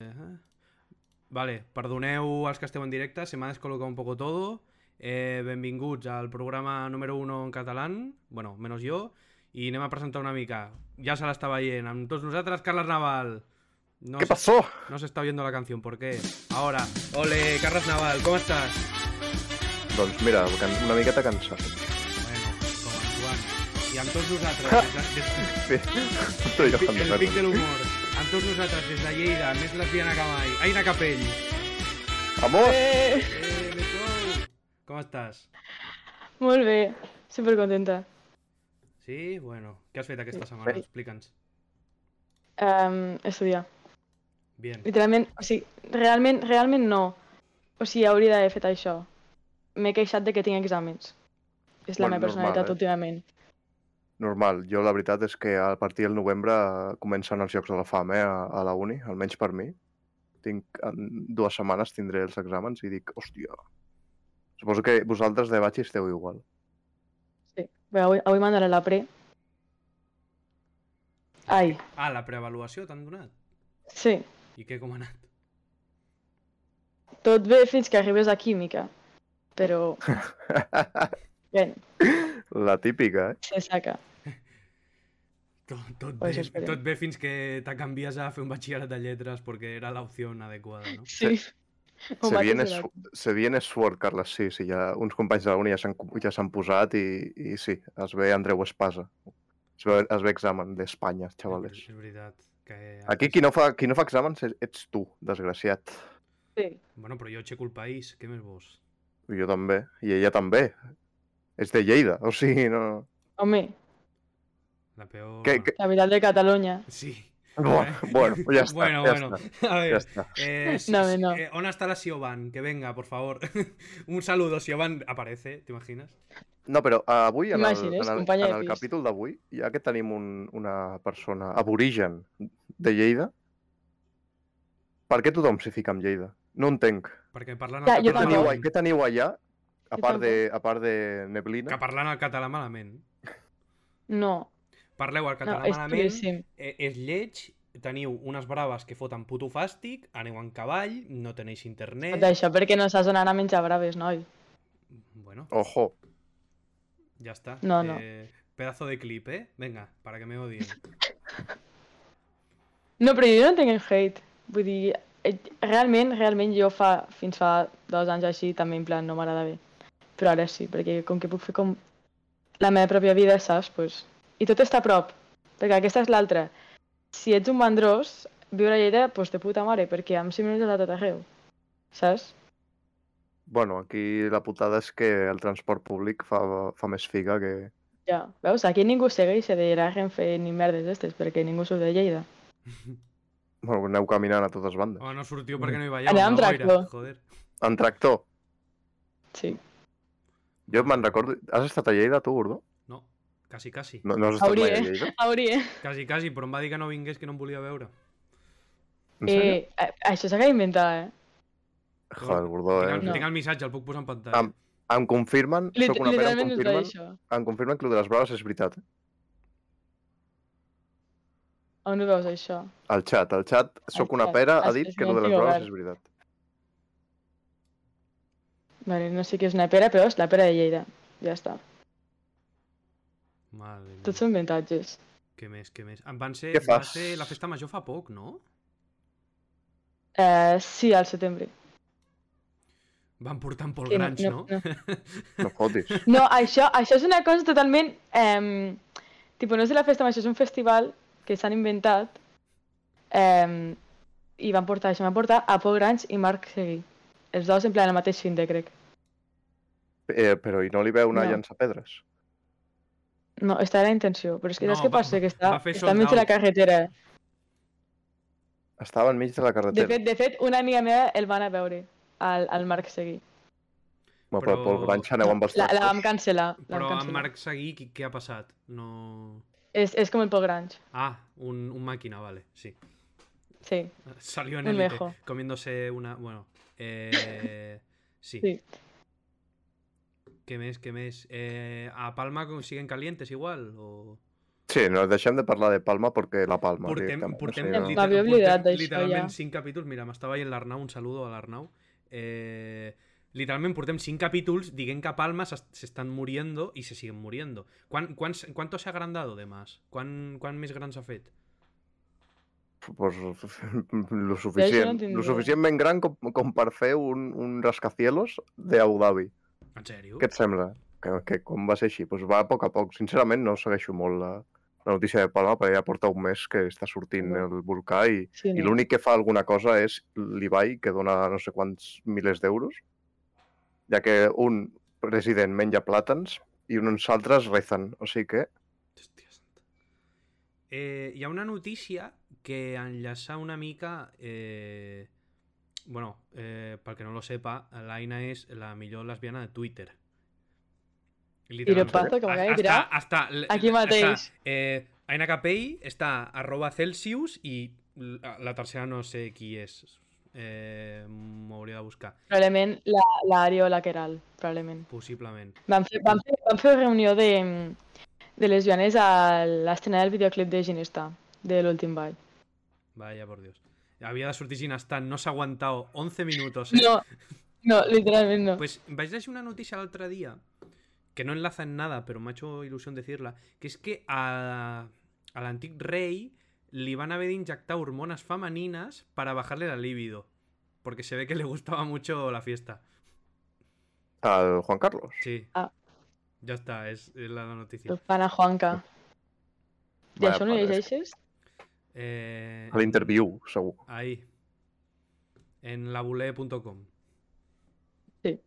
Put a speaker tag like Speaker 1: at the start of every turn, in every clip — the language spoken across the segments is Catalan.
Speaker 1: ajá. Vale, perdoneu els que esteu en directe, se m'ha descol·locat un poco todo. Eh, benvinguts al programa número 1 en català, bueno, menos jo, i anem a presentar una mica. Ja se l'està veient, amb tots nosaltres, Carles Naval. No
Speaker 2: ¿Qué
Speaker 1: se-
Speaker 2: pasó?
Speaker 1: No se está oyendo la canción, ¿por qué? Ahora, ole, Carles Naval, ¿cómo estás?
Speaker 2: Doncs mira, can- una miqueta cansat.
Speaker 1: Bueno, com en Joan. I amb tots nosaltres, des de, des,
Speaker 2: Sí. Però jo fan de
Speaker 1: el pic de
Speaker 2: merda.
Speaker 1: l'humor, amb tots nosaltres des de Lleida, més lesbiana que mai, Aina Capell.
Speaker 2: Vamos!
Speaker 3: Eh,
Speaker 1: Eh, let's go. Com estàs?
Speaker 3: molt bé, super contenta.
Speaker 1: Sí? Bueno, què has fet aquesta setmana?
Speaker 3: Sí.
Speaker 1: Explica'ns.
Speaker 3: Um, estudiar.
Speaker 1: Bien.
Speaker 3: Literalment, o sigui, realment, realment no. O sigui, hauria d'haver fet això. M'he queixat de que tinc exàmens. És la
Speaker 2: Bueno,
Speaker 3: meva personalitat
Speaker 2: normal, eh?
Speaker 3: últimament.
Speaker 2: Normal, jo la veritat és que a partir del novembre comencen els Jocs de la Fam, eh, a, a la uni, almenys per mi. Tinc, en dues setmanes tindré els exàmens i dic, hòstia... Suposo que vosaltres de batxi esteu igual.
Speaker 3: Sí. Bé, avui, avui mandaré la pre. Ai,
Speaker 1: Ah, la preavaluació t'han donat?
Speaker 3: sí.
Speaker 1: I què, com ha anat?
Speaker 3: Tot bé fins que arribes a química. Però, bé,
Speaker 2: la típica, eh?
Speaker 3: se saca.
Speaker 1: Tot, tot,
Speaker 3: Pues
Speaker 1: bé,
Speaker 3: esperem.
Speaker 1: tot bé fins que te canvies a fer un batxillerat de lletres perquè era l'opció adequada, no?
Speaker 3: Sí. Ho
Speaker 2: Se
Speaker 3: vaig
Speaker 2: viene,
Speaker 3: ajudar.
Speaker 2: su- se viene Sword, Carles, sí, sí, ja, uns companys de la uni ja s'han co- ja s'han posat i, i sí, es ve Andreu Espasa. Es ve, es ve examen d'Espanya,
Speaker 1: És,
Speaker 2: xavales.
Speaker 1: és veritat. Que
Speaker 2: Aquí qui no fa, qui no fa exàmens és- ets tu, desgraciat.
Speaker 3: Sí.
Speaker 1: Bueno, però jo aixeco el país, què més vols?
Speaker 2: Jo també, i ella també. És de Lleida, o sigui, no...
Speaker 3: Home,
Speaker 1: La peor...
Speaker 2: Que, que...
Speaker 3: capital de Catalunya.
Speaker 1: Sí.
Speaker 2: Bueno, bueno, ja està,
Speaker 1: Bueno,
Speaker 2: ja
Speaker 1: bueno.
Speaker 2: està.
Speaker 1: A
Speaker 2: Ja
Speaker 1: ver,
Speaker 2: està.
Speaker 1: eh, s-
Speaker 3: No,
Speaker 1: s-
Speaker 3: no.
Speaker 1: eh, ¿dónde está la Sioban? Que venga, por favor. Un saludo, Sioban. Aparece, ¿te imaginas?
Speaker 2: No, però eh, avui, en el,
Speaker 3: T'imagines,
Speaker 2: en el,
Speaker 3: companya
Speaker 2: en
Speaker 3: de
Speaker 2: el
Speaker 3: pis.
Speaker 2: capítol d'avui, ja que tenim un, una persona aborigen de Lleida, per què tothom s'hi fica amb Lleida? No entenc.
Speaker 1: Perquè parlant
Speaker 3: Ja,
Speaker 1: el
Speaker 3: jo
Speaker 2: Què
Speaker 1: català
Speaker 3: també.
Speaker 2: teniu,
Speaker 1: malament.
Speaker 2: què teniu allà, a
Speaker 3: Jo
Speaker 2: part, de,
Speaker 3: tampoc.
Speaker 2: a part de
Speaker 1: Que
Speaker 2: neblina?
Speaker 1: parlant el català malament.
Speaker 3: No,
Speaker 1: Parleu el
Speaker 3: no,
Speaker 1: català
Speaker 3: és
Speaker 1: malament,
Speaker 3: duríssim.
Speaker 1: eh, és lleig, teniu unes braves que foten puto fàstic, aneu en cavall, no tenéis internet...
Speaker 3: Tot això perquè no saps on anar a menjar braves, noi.
Speaker 1: Bueno,
Speaker 2: Ojo,
Speaker 1: ya está.
Speaker 3: No, no.
Speaker 1: Eh, pedazo de clip, ¿eh? Venga, para que me odien.
Speaker 3: No, però jo no entenc el hate. Vull dir, eh, realment, realment jo fa, fins fa dos anys així també en plan no m'agrada bé. Però ara sí, perquè com que puc fer com la meva pròpia vida, saps? Pues... I tot està a prop, perquè aquesta és l'altra. Si ets un mandrós, viure a Lleida, pues de puta mare, perquè amb 5 minuts és a tot arreu. Saps?
Speaker 2: bueno, aquí la putada és que el transport públic fa, fa més figa que...
Speaker 3: Ja. Veus, aquí ningú segueix de la Renfe ni merdes d'estes, perquè ningú surt de Lleida.
Speaker 2: Bueno, aneu caminant a totes bandes.
Speaker 1: Oh, no surtió perquè no iba yo.
Speaker 3: Allà amb
Speaker 1: no, Boira,
Speaker 3: Draco.
Speaker 1: joder.
Speaker 2: En tractor.
Speaker 3: Sí.
Speaker 2: Jo me'n recordo... Has estat a Lleida, tu, Gordó?
Speaker 1: No, casi, casi.
Speaker 2: No, no has estat mai
Speaker 3: Hauria. eh?
Speaker 2: a Lleida?
Speaker 3: Hauria.
Speaker 1: Casi, casi, però em va dir que no vingués, que no em volia veure.
Speaker 2: En sèrio?
Speaker 3: Eh, a- això s'ha d'inventar, eh?
Speaker 2: Joder, Gordó,
Speaker 1: Tinc
Speaker 2: eh?
Speaker 1: el,
Speaker 3: No.
Speaker 1: tinc el missatge, el puc posar en pantalla.
Speaker 2: Am- Em confirmen,
Speaker 3: Lit-
Speaker 2: sóc una pera, em
Speaker 3: literalment us va dir
Speaker 2: confirmen,
Speaker 3: això.
Speaker 2: em confirmen que el de les braves és veritat.
Speaker 3: On ho veus, això?
Speaker 2: El xat, el xat, sóc una
Speaker 3: xat.
Speaker 2: pera, ha
Speaker 3: Has-
Speaker 2: dit
Speaker 3: has
Speaker 2: que el de les
Speaker 3: mentiu,
Speaker 2: braves
Speaker 3: Albert.
Speaker 2: és veritat.
Speaker 3: Vale, no sé què és una pera, però és la pera de Lleida. Ja està.
Speaker 1: Madre mía.
Speaker 3: Tots són avantatges.
Speaker 1: Què més, què més? Em van ser,
Speaker 2: Què
Speaker 1: va
Speaker 2: fas?
Speaker 1: ser la festa major fa poc, no?
Speaker 3: Eh, sí, al setembre.
Speaker 1: Van portar en Pol
Speaker 3: Sí,
Speaker 1: Grans, no?
Speaker 2: No
Speaker 3: No,
Speaker 2: fotis.
Speaker 3: no això, això és una cosa totalment... Eh, tipo, no és de la festa, això és un festival que s'han inventat eh, i van portar això, van portar a Pol Grans i Marc Seguí. Els dos en plan el mateix fin de crec.
Speaker 2: Eh, però i no li veu una
Speaker 3: No.
Speaker 2: llançapedres?
Speaker 3: No, està la intenció, però és que
Speaker 1: No,
Speaker 3: saps què
Speaker 1: va-
Speaker 3: passa? Que està,
Speaker 1: va fer
Speaker 3: està enmig
Speaker 1: sold
Speaker 3: de la
Speaker 1: out.
Speaker 3: carretera.
Speaker 2: Estava enmig de la
Speaker 3: De
Speaker 2: carretera.
Speaker 3: fet, de fet, una amiga meva el van a veure, al, al Marc Seguí.
Speaker 2: Ma, però...
Speaker 1: Però-
Speaker 2: Pel Granxa aneu amb els
Speaker 3: La, la vam
Speaker 2: tractors.
Speaker 3: cancel·lar. La
Speaker 1: Però
Speaker 3: vam
Speaker 1: amb
Speaker 3: cancel·lar.
Speaker 1: Marc Seguí, qui- què ha passat? No...
Speaker 3: És, és com el Pol Grange,
Speaker 1: Ah, un, un máquina, vale, sí.
Speaker 3: sí.
Speaker 1: Salió en
Speaker 3: Un
Speaker 1: el
Speaker 3: mejo.
Speaker 1: comiéndose una... Bueno, eh... Sí.
Speaker 3: Sí.
Speaker 1: ¿Qué mes, qué mes? Eh, ¿A Palma con- siguen calientes igual? O...
Speaker 2: Sí, no, deixem de parlar de Palma perquè la Palma.
Speaker 1: Portem,
Speaker 2: directament,
Speaker 1: portem,
Speaker 2: o
Speaker 3: Em
Speaker 2: sigui,
Speaker 1: liter-
Speaker 2: no.
Speaker 3: m'havia oblidat
Speaker 1: portem
Speaker 3: d'això,
Speaker 1: literalment
Speaker 3: ja.
Speaker 1: 5 capítols. Mira, m'estava veient l'Arnau, un saludo a l'Arnau. Eh, literalment portem 5 capítols dient que Palma s'est- s'estan muriendo i se siguen muriendo. ¿Cuán, cuán, ¿Cuánto se ha agrandado de más? ¿Cuán, cuán més gran s'ha fet?
Speaker 2: pues, lo suficient,
Speaker 3: entenc
Speaker 2: lo
Speaker 3: res.
Speaker 2: suficientment gran com, com per fer un, un rascacielos de Abu Dhabi.
Speaker 1: En sèrio?
Speaker 2: Què et sembla? Que, que com va ser així? Pues va a poc a poc. Sincerament no segueixo molt la, la notícia de Palma, perquè ja porta un mes que està sortint
Speaker 3: No.
Speaker 2: el volcà i,
Speaker 3: Sí,
Speaker 2: i
Speaker 3: no.
Speaker 2: l'únic que fa alguna cosa és l'Ibai, que dona no sé quants milers d'euros, ja que un president menja plàtans i uns altres rezen. O sigui que
Speaker 1: Hòstia santa. Eh, hi ha una notícia que enllaça una mica... Eh... Bueno, eh, pel que no lo sepa, l'Aina és la millor lesbiana de Twitter.
Speaker 3: pata, que m'acaba de tirar
Speaker 1: Està, està,
Speaker 3: aquí mateix.
Speaker 1: Està, eh, Aina Capell està arroba Celsius i l- la tercera no sé qui és. Eh, M'hauria de buscar,
Speaker 3: Probablement la, la Ari o la Keral, probablement.
Speaker 1: possiblement.
Speaker 3: Vam fer, vam fer, vam fer reunió de, de lesbianes a l'estrena del videoclip de Ginesta, de l'últim ball.
Speaker 1: Vaya, por Dios. Havia de sortir Ginestan, no s'ha aguantat 11 minuts. Eh?
Speaker 3: No, no, literalment no.
Speaker 1: Pues vais a decir una noticia el otro día que no enlaza en nada, pero me ha hecho ilusión decirla, que es que a, al Antic Rey le van a haber inyectado hormonas femeninas para bajarle la libido, porque se ve que le gustaba mucho la fiesta.
Speaker 2: el Juan Carlos.
Speaker 1: Sí.
Speaker 3: Ah.
Speaker 1: Ya está, es, es la noticia.
Speaker 3: El fan a Juanca. I
Speaker 2: Vaya
Speaker 3: això no
Speaker 2: pare.
Speaker 3: llegeixes?
Speaker 1: Eh,
Speaker 2: A l'interviu, segur.
Speaker 1: ahí. En labule.com.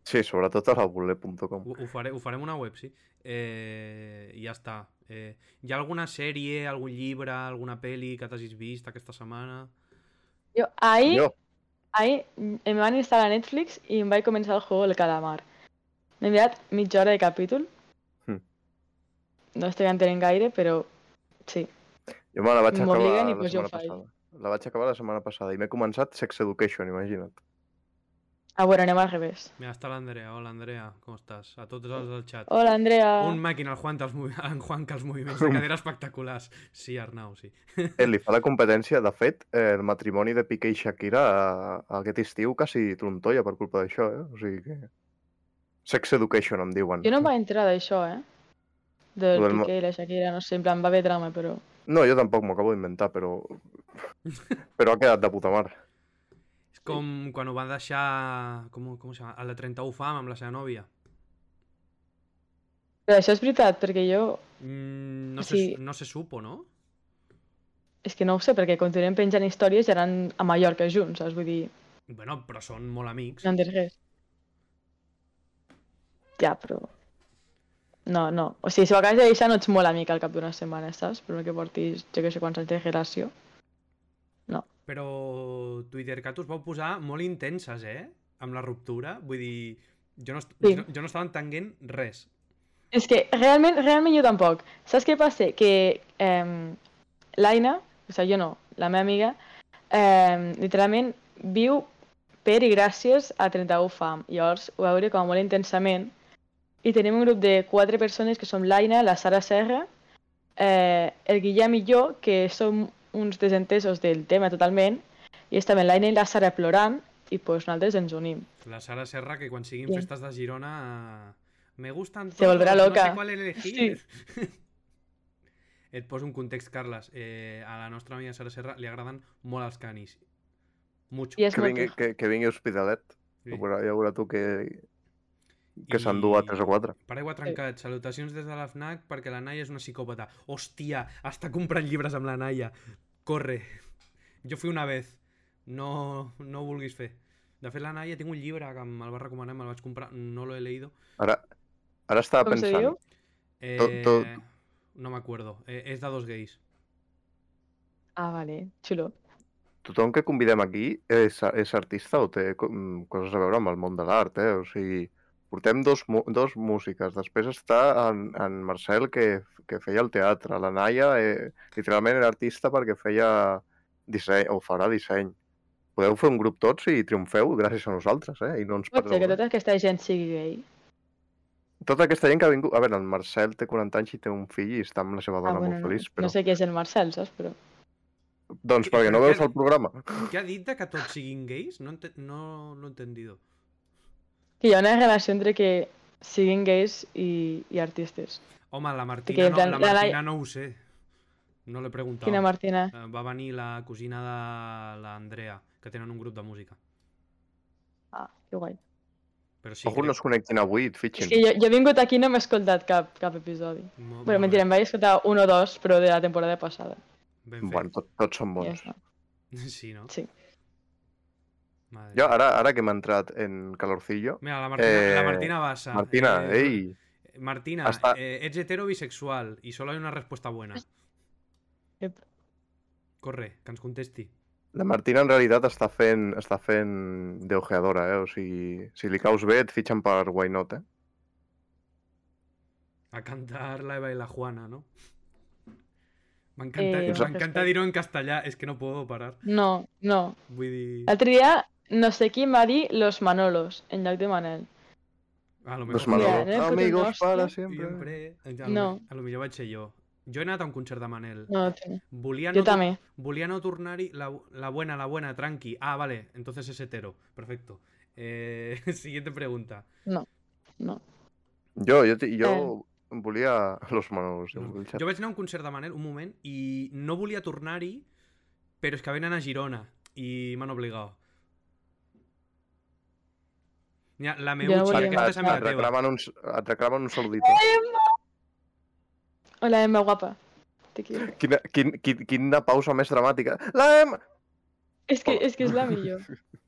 Speaker 2: Sí, sobretot a la voler.com.
Speaker 1: Ho, ho, faré, ho farem una web, sí. Eh, I ja està. Eh, hi ha alguna sèrie, algun llibre, alguna pel·li que t'hagis vist aquesta setmana?
Speaker 3: Jo, ahir,
Speaker 2: Jo,
Speaker 3: ahir em van instal·lar a Netflix i em vaig començar el juego del calamar. M'he enviat mitja hora de capítol.
Speaker 2: Hmm.
Speaker 3: No estic entenent gaire, però sí.
Speaker 2: jo me la vaig acabar
Speaker 3: M'obliguen i
Speaker 2: la
Speaker 3: pues jo
Speaker 2: setmana
Speaker 3: faig.
Speaker 2: passada. La vaig acabar la setmana passada i m'he començat Sex Education, imagina't.
Speaker 3: Ah, bueno, anem al revés.
Speaker 1: Mira, està l'Andrea. Hola, Andrea, com estàs? A tots els del xat.
Speaker 3: Hola, Andrea.
Speaker 1: Un màquina, el Juan, els movi... en Juan que els moviments de cadera espectaculars. Sí, Arnau, sí.
Speaker 2: Eh, li fa la competència. De fet, eh, el matrimoni de Piqué i Shakira eh, aquest estiu quasi trontolla per culpa d'això, eh? O sigui que... Sex Education, em diuen.
Speaker 3: Jo no em vaig entrar d'això, eh? Del
Speaker 2: Del mo-
Speaker 3: Piqué i la Shakira, no sé, en plan, va haver drama, però...
Speaker 2: No, jo tampoc m'ho acabo d'inventar, però... però ha quedat de puta mare.
Speaker 1: És com quan ho va deixar... Com, com se llama? El de 31 fam amb la seva nòvia.
Speaker 3: Però això és veritat, perquè jo...
Speaker 1: Mm, no,
Speaker 3: Sí.
Speaker 1: se, no se supo, no?
Speaker 3: És que no ho sé, perquè continuem penjant històries i eren a Mallorca junts, saps? Vull dir,
Speaker 1: Bueno, però són molt amics.
Speaker 3: no en dic res. Ja, però... No, no. O sigui, si ho acabes de deixar no ets molt amic al cap d'una setmana, saps? Però que portis, jo que sé, quants anys de relació.
Speaker 1: Però Twitter Cat us vau posar molt intenses, eh? Amb la ruptura. Vull dir, jo no, est-
Speaker 3: Sí.
Speaker 1: jo, jo no estava entenguent res.
Speaker 3: És que realment, realment jo tampoc. Saps què passa? Que eh, l'Aina, o sigui, jo no, la meva amiga, eh, literalment viu per i gràcies a 31 fam. Llavors ho va veure com a molt intensament. I tenim un grup de quatre persones que som l'Aina, la Sara Serra, eh, el Guillem i jo, que som uns desentesos del tema totalment, i és també l'Aina i la Sara plorant, i doncs nosaltres ens unim.
Speaker 1: La Sara Serra, que quan siguin
Speaker 3: Sí.
Speaker 1: festes de Girona... eh, Me gustan
Speaker 3: Se volverá
Speaker 1: todos, No
Speaker 3: loca.
Speaker 1: sé qual elegir. Et poso un context, Carles. Eh, a la nostra amiga Sara Serra li agraden molt els canis. Mucho.
Speaker 3: I és
Speaker 2: Que
Speaker 3: molt...
Speaker 2: vingui, que, que vingui Hospitalet.
Speaker 1: Sí.
Speaker 2: Ja veurà, ja veurà tu que, que
Speaker 1: I-
Speaker 2: s'endú a 3 o 4.
Speaker 1: Paraigua trencat, salutacions des de la FNAC perquè la Naia és una psicòpata. Hòstia, està comprant llibres amb la Naia. Corre. Jo fui una vez. No, no ho vulguis fer. De fet, la Naia tinc un llibre que me'l va recomanar, me'l vaig comprar, no lo he leído.
Speaker 2: Ara, ara estava
Speaker 3: Com se
Speaker 2: pensant...
Speaker 3: diu?
Speaker 1: Eh,
Speaker 2: To- to-
Speaker 1: No me acuerdo. Eh, és de dos gais.
Speaker 3: Ah, vale, xulo.
Speaker 2: tothom que convidem aquí és, és artista o té com, coses a veure amb el món de l'art, eh? O sigui, portem dos, mu- dos músiques. Després està en, en Marcel, que, que feia el teatre. La Naia, eh, literalment, era artista perquè feia disseny, o farà disseny. Podeu fer un grup tots i triomfeu gràcies a nosaltres, eh? I no ens
Speaker 3: Pot
Speaker 2: perdeu.
Speaker 3: ser que
Speaker 2: res.
Speaker 3: tota aquesta gent sigui gay.
Speaker 2: Tota aquesta gent que ha vingut... A veure, el Marcel té 40 anys i té un fill i està amb la seva dona molt feliç,
Speaker 3: Ah, no,
Speaker 2: però...
Speaker 3: no sé qui és el Marcel, saps? Però...
Speaker 2: Doncs perquè no
Speaker 1: Però
Speaker 2: veus
Speaker 1: què-
Speaker 2: el programa.
Speaker 1: ¿Qué ha dicho de que tots siguin gays? No, ente- no lo he entendido.
Speaker 3: Que hi ha una relació entre que siguin gais i, i artistes.
Speaker 1: Home, la
Speaker 3: Que
Speaker 1: Martina,
Speaker 3: en
Speaker 1: no,
Speaker 3: plan,
Speaker 1: la
Speaker 3: la Lai-
Speaker 1: Martina no ho sé. No l'he preguntat.
Speaker 3: Quina Martina.
Speaker 1: Eh, Va venir la cosina de l'Andrea, que tenen un grup de música.
Speaker 3: Ah, que guai.
Speaker 1: Però sí,
Speaker 2: Alguns no es connectin avui, et
Speaker 3: És
Speaker 2: fitxin.
Speaker 3: que jo, jo he vingut aquí i no m'he escoltat cap, cap episodi.
Speaker 1: no,
Speaker 3: Bueno, mentira, em vaig escoltar un o dos, però de la temporada passada.
Speaker 1: Ben fet.
Speaker 2: Bueno, tot, tots són
Speaker 3: Ja
Speaker 2: bons.
Speaker 3: està.
Speaker 1: Sí, no?
Speaker 3: Sí.
Speaker 1: Madre
Speaker 2: Jo,
Speaker 1: mía.
Speaker 2: ara, ara que hem entrat en calorcillo...
Speaker 1: Mira, la Martina, la
Speaker 2: Eh,
Speaker 1: Martina Bassa.
Speaker 2: Martina,
Speaker 1: eh,
Speaker 2: ei,
Speaker 1: Martina,
Speaker 2: hasta-
Speaker 1: eh, es hetero bisexual y solo hay una respuesta buena.
Speaker 3: Ep.
Speaker 1: Corre, que ens contesti.
Speaker 2: la Martina en realitat està fent, està fent d'ojeadora, eh? O sigui, si li caus bé, et fitxen per Why Not, eh?
Speaker 1: A cantar la Eva y la Juana, ¿no? Me encanta,
Speaker 3: Eh,
Speaker 1: me encanta
Speaker 3: perfecto.
Speaker 1: dir-ho en castellà, es que no puedo parar.
Speaker 3: No, no.
Speaker 1: Vull dir-
Speaker 3: L'altre dia, no sé qui em va dir los Manolos, en lloc de Manel.
Speaker 1: A lo
Speaker 2: Los
Speaker 1: mejor...
Speaker 2: Manolo.
Speaker 3: eh, però
Speaker 2: Amigos
Speaker 3: nostre,
Speaker 2: para sempre.
Speaker 1: Siempre... A lo,
Speaker 3: No.
Speaker 1: a lo millor vaig ser jo. Jo he anat a un concert de Manel.
Speaker 3: No, tio.
Speaker 1: Volia
Speaker 3: jo
Speaker 1: no, tor-
Speaker 3: també.
Speaker 1: volia no tornar-hi... La, la buena, la buena, tranqui. Ah, vale, entonces es hetero. Perfecto. Eh, siguiente pregunta.
Speaker 3: No.
Speaker 2: Jo, jo, ti- jo
Speaker 3: Eh.
Speaker 2: volia los Manolos.
Speaker 1: No.
Speaker 2: diu el xat.
Speaker 1: Jo vaig anar a un concert de Manel, un moment, i no volia tornar-hi, però és que venen a Girona i m'han obligat. Mira, la meva
Speaker 3: Jo no
Speaker 1: utxilla,
Speaker 3: volia
Speaker 1: aquesta
Speaker 2: Et,
Speaker 1: és
Speaker 3: anar.
Speaker 1: amiga
Speaker 2: et,
Speaker 1: teva.
Speaker 2: reclamen un, s- et reclamen un saludito.
Speaker 3: Hola, Emma, guapa. Te quiero.
Speaker 2: Quina, quin, quin, quina pausa més dramàtica. La hem...
Speaker 3: És que,
Speaker 2: Hola.
Speaker 3: és que és la millor.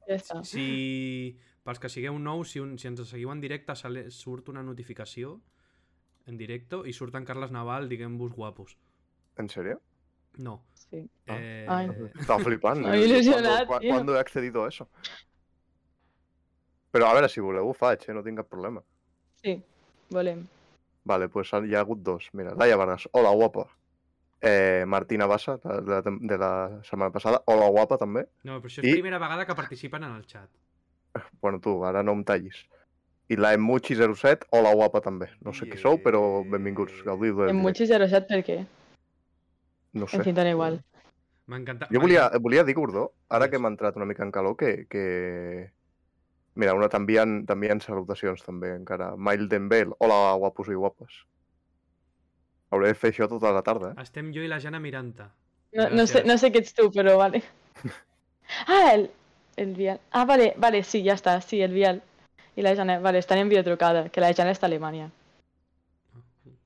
Speaker 3: Ja està.
Speaker 1: Si, pels que sigueu nous, si, un, si ens seguiu en directe, sale, surt una notificació en directe i surt en Carles Naval, diguem-vos guapos.
Speaker 2: En sèrio?
Speaker 1: No.
Speaker 3: Sí.
Speaker 2: Ah.
Speaker 1: Eh,
Speaker 3: Ai.
Speaker 2: Estava flipant.
Speaker 3: M'ha il·lusionat,
Speaker 2: Quan,
Speaker 3: tio.
Speaker 2: quan, he accedido a eso? Però a veure, si voleu ho faig, eh? no tinc cap problema.
Speaker 3: Sí, volem.
Speaker 2: Vale, pues han- hi ha hagut dos. Mira, Laia Vargas, hola guapa. Eh, Martina Bassa, de, de, de la setmana passada, hola guapa també.
Speaker 1: no, però això és
Speaker 2: I-
Speaker 1: primera vegada que participen en el xat.
Speaker 2: Bueno, tu, ara no em tallis. I la Emuchi07, hola guapa també. No sé qui sou, però benvinguts. Gaudiu del
Speaker 3: En
Speaker 2: directe.
Speaker 3: Muchi 07 per què?
Speaker 2: No sé.
Speaker 3: En fin, dona igual.
Speaker 1: M'encanta.
Speaker 2: Jo volia, volia dir, Gordó, ara
Speaker 1: Digues.
Speaker 2: que hem entrat una mica en calor, que... que... Mira, una t'envien t'envien salutacions també encara. Mail Dembel, hola guapos i guapes. Hauré de fer això tota la tarda, eh?
Speaker 1: Estem jo i la Jana Miranta.
Speaker 3: No, no, sé, no sé què ets tu, però vale. Ah, el, el Vial. Ah, vale, vale, sí, ja està. Sí, el Vial. I la Jana, vale, estan en videotrucada, que la Jana està a Alemanya.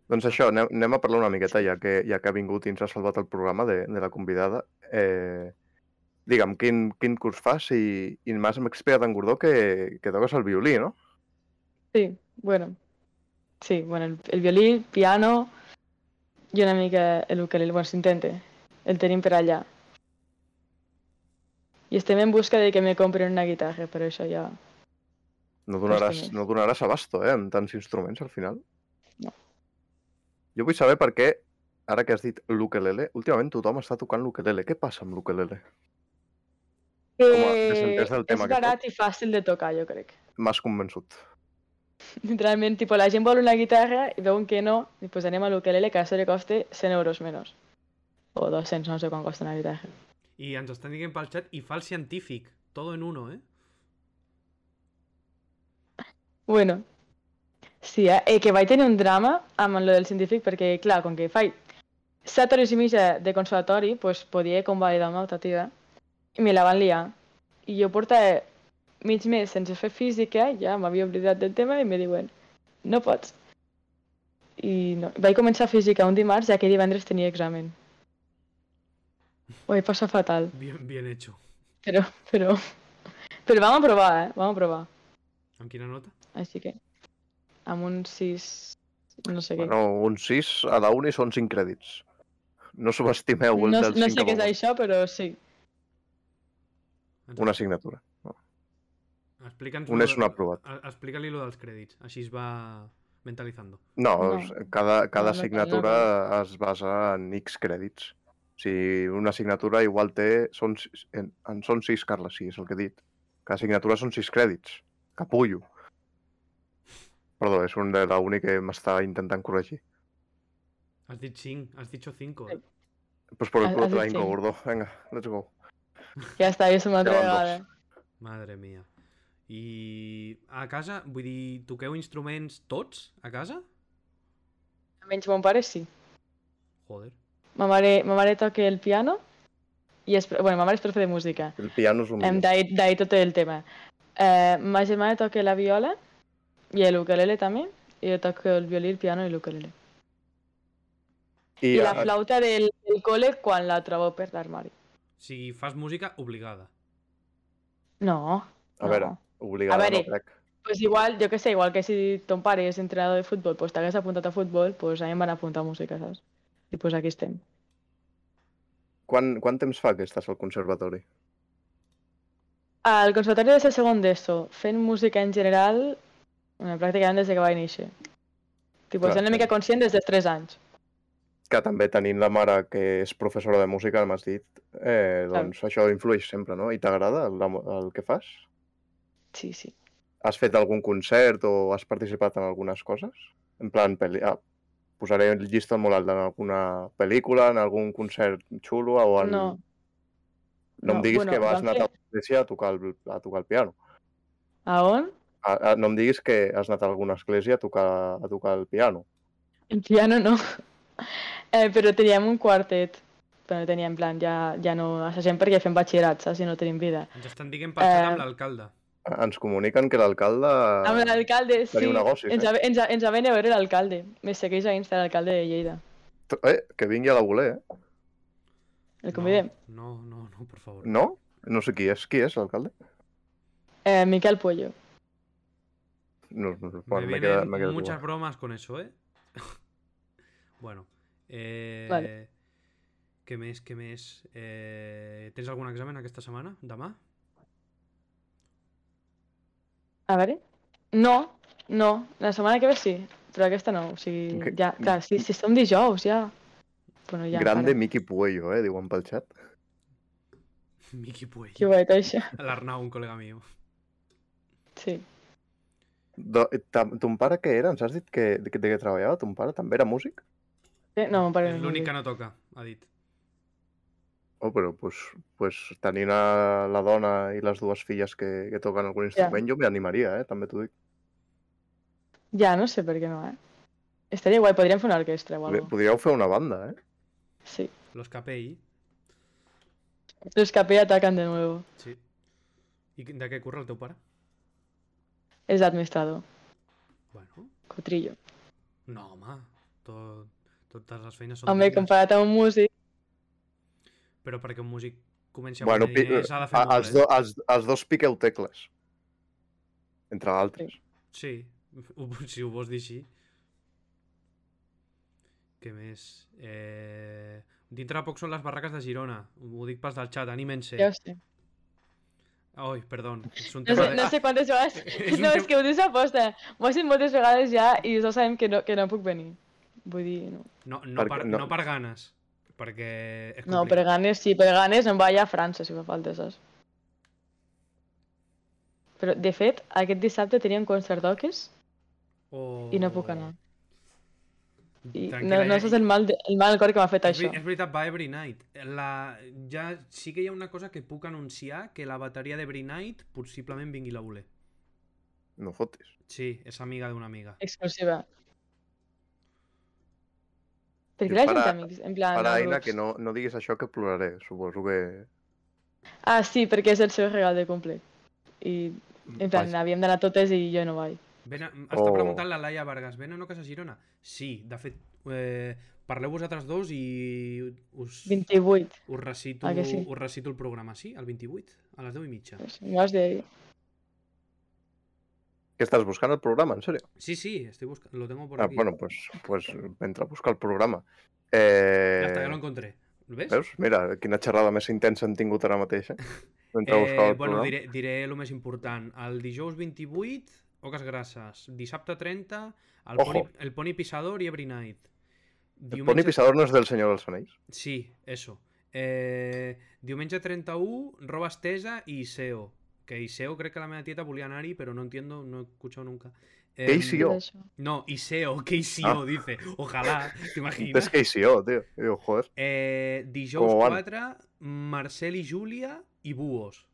Speaker 2: Doncs això, anem, anem a parlar una miqueta, ja que, ja que ha vingut i ens ha salvat el programa de, de la convidada. Eh, digue'm, quin, quin curs fas i, i m'has explicat en Gordó que, que toques el violí, no?
Speaker 3: Sí, bueno. Sí, bueno, el, el violí, piano i una mica el ukelele, bueno, s'intenta. El tenim per allà. I estem en busca de que me compren una guitarra, però això ja...
Speaker 2: No donaràs,
Speaker 3: diners.
Speaker 2: no donaràs abasto, eh, amb tants instruments al final.
Speaker 3: No.
Speaker 2: Jo vull saber per què, ara que has dit l'ukelele, últimament tothom està tocant l'ukelele. Què passa amb l'ukelele?
Speaker 3: Eh,
Speaker 2: desentès del tema
Speaker 3: és
Speaker 2: que toca.
Speaker 3: barat i fàcil de tocar, jo crec.
Speaker 2: M'has convençut.
Speaker 3: Literalment, tipo, la gent vol una guitarra i veuen que no, i pues anem a l'ukelele, que això li costa 100 euros menys. O 200, no sé quan costa una guitarra.
Speaker 1: I ens estan dient pel xat i fals científic. Todo en uno, eh?
Speaker 3: Bueno, sí, eh? eh? que vaig tenir un drama amb lo del científic perquè, clar, com que faig set hores i mitja de conservatori, pues, podia convalidar una optativa i me la van liar. I jo portava mig mes sense fer física, ja m'havia oblidat del tema i me diuen, no pots. I no. vaig començar física un dimarts i aquell divendres tenia examen. Ho he passat fatal,
Speaker 1: Bien, bien hecho.
Speaker 3: però, però, però vam aprovar, eh? Vam aprovar.
Speaker 1: Amb quina nota?
Speaker 3: Així que amb un 6 no sé què.
Speaker 2: Bueno, un 6 a la uni són 5 crèdits. No subestimeu el
Speaker 3: no,
Speaker 2: del
Speaker 3: no
Speaker 2: 5
Speaker 3: sé què és
Speaker 2: a un.
Speaker 3: això, però sí.
Speaker 1: Ens-
Speaker 2: Una assignatura.
Speaker 1: Explica'ns...
Speaker 2: un
Speaker 1: lo
Speaker 2: és
Speaker 1: de-
Speaker 2: un aprovat.
Speaker 1: a- Explica-li lo dels crèdits. Així es va mentalitzando.
Speaker 2: No,
Speaker 3: No.
Speaker 2: és- cada, cada
Speaker 3: No, no cal,
Speaker 2: assignatura es basa en X crèdits. O sigui, una assignatura igual té... Són, sis- en, en són 6, Carles, sí, és el que he dit. Cada assignatura són 6 crèdits. Capullo. Perdó, és un de la uni que m'està intentant corregir.
Speaker 1: Has dit 5, has dicho 5. Eh?
Speaker 2: Pues por el
Speaker 3: Has-
Speaker 2: culo
Speaker 3: has
Speaker 2: te la
Speaker 3: dit
Speaker 2: hinco,
Speaker 3: cinc.
Speaker 2: gordo. Venga, let's go.
Speaker 3: Ja està, jo som una altra
Speaker 2: Ja van dos.
Speaker 3: vegada.
Speaker 1: Madre mia. I a casa, vull dir, toqueu instruments tots a casa?
Speaker 3: Almenys mon pare sí.
Speaker 1: Joder.
Speaker 3: Ma mare, ma mare toca el piano i és... pro- Bueno, ma mare és profe de música.
Speaker 2: El piano és un...
Speaker 3: Em, D'ahir d'ahir tot el tema. Eh, ma germana toca la viola i el ukelele també. I jo toco el violí, el piano i l'ukelele. I, I la
Speaker 2: a-
Speaker 3: flauta del, del col·le quan la trobo per l'armari.
Speaker 1: O sigui, fas música obligada.
Speaker 3: No.
Speaker 2: A veure,
Speaker 3: no.
Speaker 2: obligada,
Speaker 3: A veure.
Speaker 2: no crec.
Speaker 3: Pues igual, jo que sé, igual que si ton pare és entrenador de futbol, pues t'hagués apuntat a futbol, pues a mi em van apuntar a música, saps? I pues aquí estem.
Speaker 2: Quan, quant temps fa que estàs al conservatori?
Speaker 3: Al conservatori des de segon d'ESO, fent música en general, bueno, pràcticament des de que vaig néixer. Tipo,
Speaker 2: Clar,
Speaker 3: sent una
Speaker 2: sí.
Speaker 3: mica conscient des dels 3 anys.
Speaker 2: Que també tenint la mare que és professora de música, m'has dit, eh, doncs això influeix sempre, no? I t'agrada el, el que fas?
Speaker 3: Sí, sí.
Speaker 2: Has fet algun concert o has participat en algunes coses? En plan, pel·li... ah, posaré el llista molt alta en alguna pel·lícula, en algun concert xulo o en...
Speaker 3: No.
Speaker 2: no em diguis que vas
Speaker 3: vam
Speaker 2: anar
Speaker 3: fer-
Speaker 2: a l'església a tocar el, a tocar el piano.
Speaker 3: A on?
Speaker 2: A, a, no em diguis que has anat a alguna església a tocar, a tocar el piano.
Speaker 3: El piano no. Eh, però teníem un quartet. Però no teníem plan, ja, ja no assassem perquè fem batxillerat, saps? Si no tenim vida.
Speaker 1: Ens estan dient per xat amb
Speaker 3: Eh.
Speaker 1: l'alcalde.
Speaker 2: A- Ens comuniquen que l'alcalde...
Speaker 3: Amb l'alcalde, sí.
Speaker 2: teniu negocis,
Speaker 3: ens,
Speaker 2: eh?
Speaker 3: eh? ens, ens va venir a veure l'alcalde. Me segueix a Insta l'alcalde de Lleida.
Speaker 2: Tr- Eh, que vingui a la voler, eh?
Speaker 3: El convidem.
Speaker 1: No, no, no, no, per favor.
Speaker 2: No? No sé qui és. Qui és l'alcalde?
Speaker 3: Eh, Miquel Pollo.
Speaker 2: No, no, no,
Speaker 1: Me
Speaker 2: bueno, m'he
Speaker 1: vienen
Speaker 2: quedat, m'he quedat
Speaker 1: muchas
Speaker 2: igual.
Speaker 1: bromas con eso, ¿eh? bueno. Eh,
Speaker 3: Vale.
Speaker 1: Què més, què més? Eh, tens algun examen aquesta setmana? Demà?
Speaker 3: A veure? No, no. La setmana que ve sí, però aquesta no. O sigui,
Speaker 2: Que-
Speaker 3: ja, clar, si, si som dijous, ja... Bueno, ja
Speaker 2: Grande
Speaker 3: encara.
Speaker 2: Miqui Puello, eh? Diuen pel xat.
Speaker 1: Miqui Puey.
Speaker 3: Que guait, això.
Speaker 1: L'Arnau, un col·lega meu.
Speaker 3: Sí.
Speaker 2: Do, ta, ton pare què era? Ens has dit que, de, de què treballava? Ton pare també era músic?
Speaker 3: Eh, No, mon pare
Speaker 1: És
Speaker 3: no.
Speaker 1: l'únic que
Speaker 3: no.
Speaker 1: no toca, ha dit.
Speaker 2: Oh, però pues, pues, tenint a la dona i les dues filles que, que toquen algun instrument, jo m'hi animaria, eh? també t'ho dic.
Speaker 3: Ja, no sé per què no, eh? Estaria guai, podríem fer una orquestra o
Speaker 2: Podri-
Speaker 3: alguna cosa.
Speaker 2: Podríeu fer una banda, eh?
Speaker 3: Sí.
Speaker 1: Los Capell,
Speaker 3: Los capé atacan de nuevo.
Speaker 1: sí. I de què curra el teu pare?
Speaker 3: És administrador.
Speaker 1: Bueno,
Speaker 3: Cotrillo.
Speaker 1: no, home. Tot, totes les feines són
Speaker 3: Home,
Speaker 1: dignes.
Speaker 3: comparat amb un músic,
Speaker 1: Però perquè un músic comenci a
Speaker 2: Bueno,
Speaker 1: guanyar
Speaker 2: pi-
Speaker 1: diners ha de fer
Speaker 2: A,
Speaker 1: molt,
Speaker 2: els,
Speaker 1: eh?
Speaker 2: do, els, els dos piqueu tecles. Entre d'altres.
Speaker 1: Sí, ho, si ho vols dir així. Què més? Eh... Dintre de poc són les barraques de Girona. Ho dic pas del xat, animen-se.
Speaker 3: ja ho sé.
Speaker 1: Ai, perdó. És un
Speaker 3: No
Speaker 1: tema
Speaker 3: sé, no sé quantes vegades...
Speaker 1: És un
Speaker 3: No, és
Speaker 1: tema-
Speaker 3: que ho dius a posta. M'ho has dit moltes vegades ja i ja sabem que no, que no puc venir. Vull dir, no.
Speaker 1: No, no,
Speaker 2: Perquè-
Speaker 1: per,
Speaker 2: no.
Speaker 1: no. per ganes, perquè és
Speaker 3: No,
Speaker 1: complicat.
Speaker 3: per ganes sí, per ganes em vaig a França si fa falta, saps? Però, de fet, aquest dissabte tenia un concert d'oques
Speaker 1: O...
Speaker 3: i no puc anar. I no,
Speaker 1: Tranquil·la,
Speaker 3: no
Speaker 1: ja-
Speaker 3: saps el mal, de, el mal cor que m'ha fet
Speaker 1: eh, és,
Speaker 3: això.
Speaker 1: veri- és veritat, va Every Night. La... Ja sí que hi ha una cosa que puc anunciar, que la bateria d'Every Night possiblement vingui la voler.
Speaker 2: No fotis.
Speaker 1: Sí, és amiga d'una amiga.
Speaker 3: Exclusiva. Per
Speaker 2: Jo
Speaker 3: què la gent
Speaker 2: para-
Speaker 3: amics? En plan,
Speaker 2: Ara,
Speaker 3: no,
Speaker 2: Aina,
Speaker 3: grups.
Speaker 2: que no, no diguis això que ploraré. Suposo que...
Speaker 3: Ah, sí, perquè és el seu regal de cumple. I, en plan,
Speaker 2: Vaja.
Speaker 3: havíem d'anar totes i jo no vaig.
Speaker 1: Ben, està
Speaker 2: O-
Speaker 1: preguntant la Laia Vargas, ven o no casa a Girona? Sí, de fet, eh, parleu vosaltres dos i us,
Speaker 3: 28.
Speaker 1: us, recito,
Speaker 3: Ah, que sí?
Speaker 1: us recito el programa, sí? El 28, a les 10 i mitja.
Speaker 3: Pues, no has de...
Speaker 2: Què estàs buscant el programa, en sèrio?
Speaker 1: Sí, sí, estoy buscando, lo tengo por
Speaker 2: Ah,
Speaker 1: aquí.
Speaker 2: bueno, pues, pues mentre busca el programa.
Speaker 1: Hasta que lo
Speaker 2: Eh,
Speaker 1: encontré. ¿Lo ves?
Speaker 2: veus? Mira, quina xerrada més intensa hem tingut ara mateix, eh? Mentre
Speaker 1: Eh,
Speaker 2: buscava el
Speaker 1: bueno,
Speaker 2: programa.
Speaker 1: diré, diré el més important. El dijous 28, Oques Grasses. Dissabte 30, el,
Speaker 2: Ojo.
Speaker 1: poni, el poni Pisador i Every Night.
Speaker 2: El Pony Pisador no és del Senyor dels Anells?
Speaker 1: Sí, eso. Eh, diumenge 31, roba estesa i ISEO. Que ISEO crec que la meva tieta volia anar-hi, però no entiendo, no he escuchado nunca. Em,
Speaker 2: Què hi jo?
Speaker 3: Això.
Speaker 1: No, ISEO, que ISEO, dice. Ojalá,
Speaker 2: És
Speaker 1: t'imagines?
Speaker 2: Ah. que sí, jo, tio. I diu, joder.
Speaker 1: Eh, dijous
Speaker 2: Com van?
Speaker 1: 4, Marcel i Júlia i Búhos.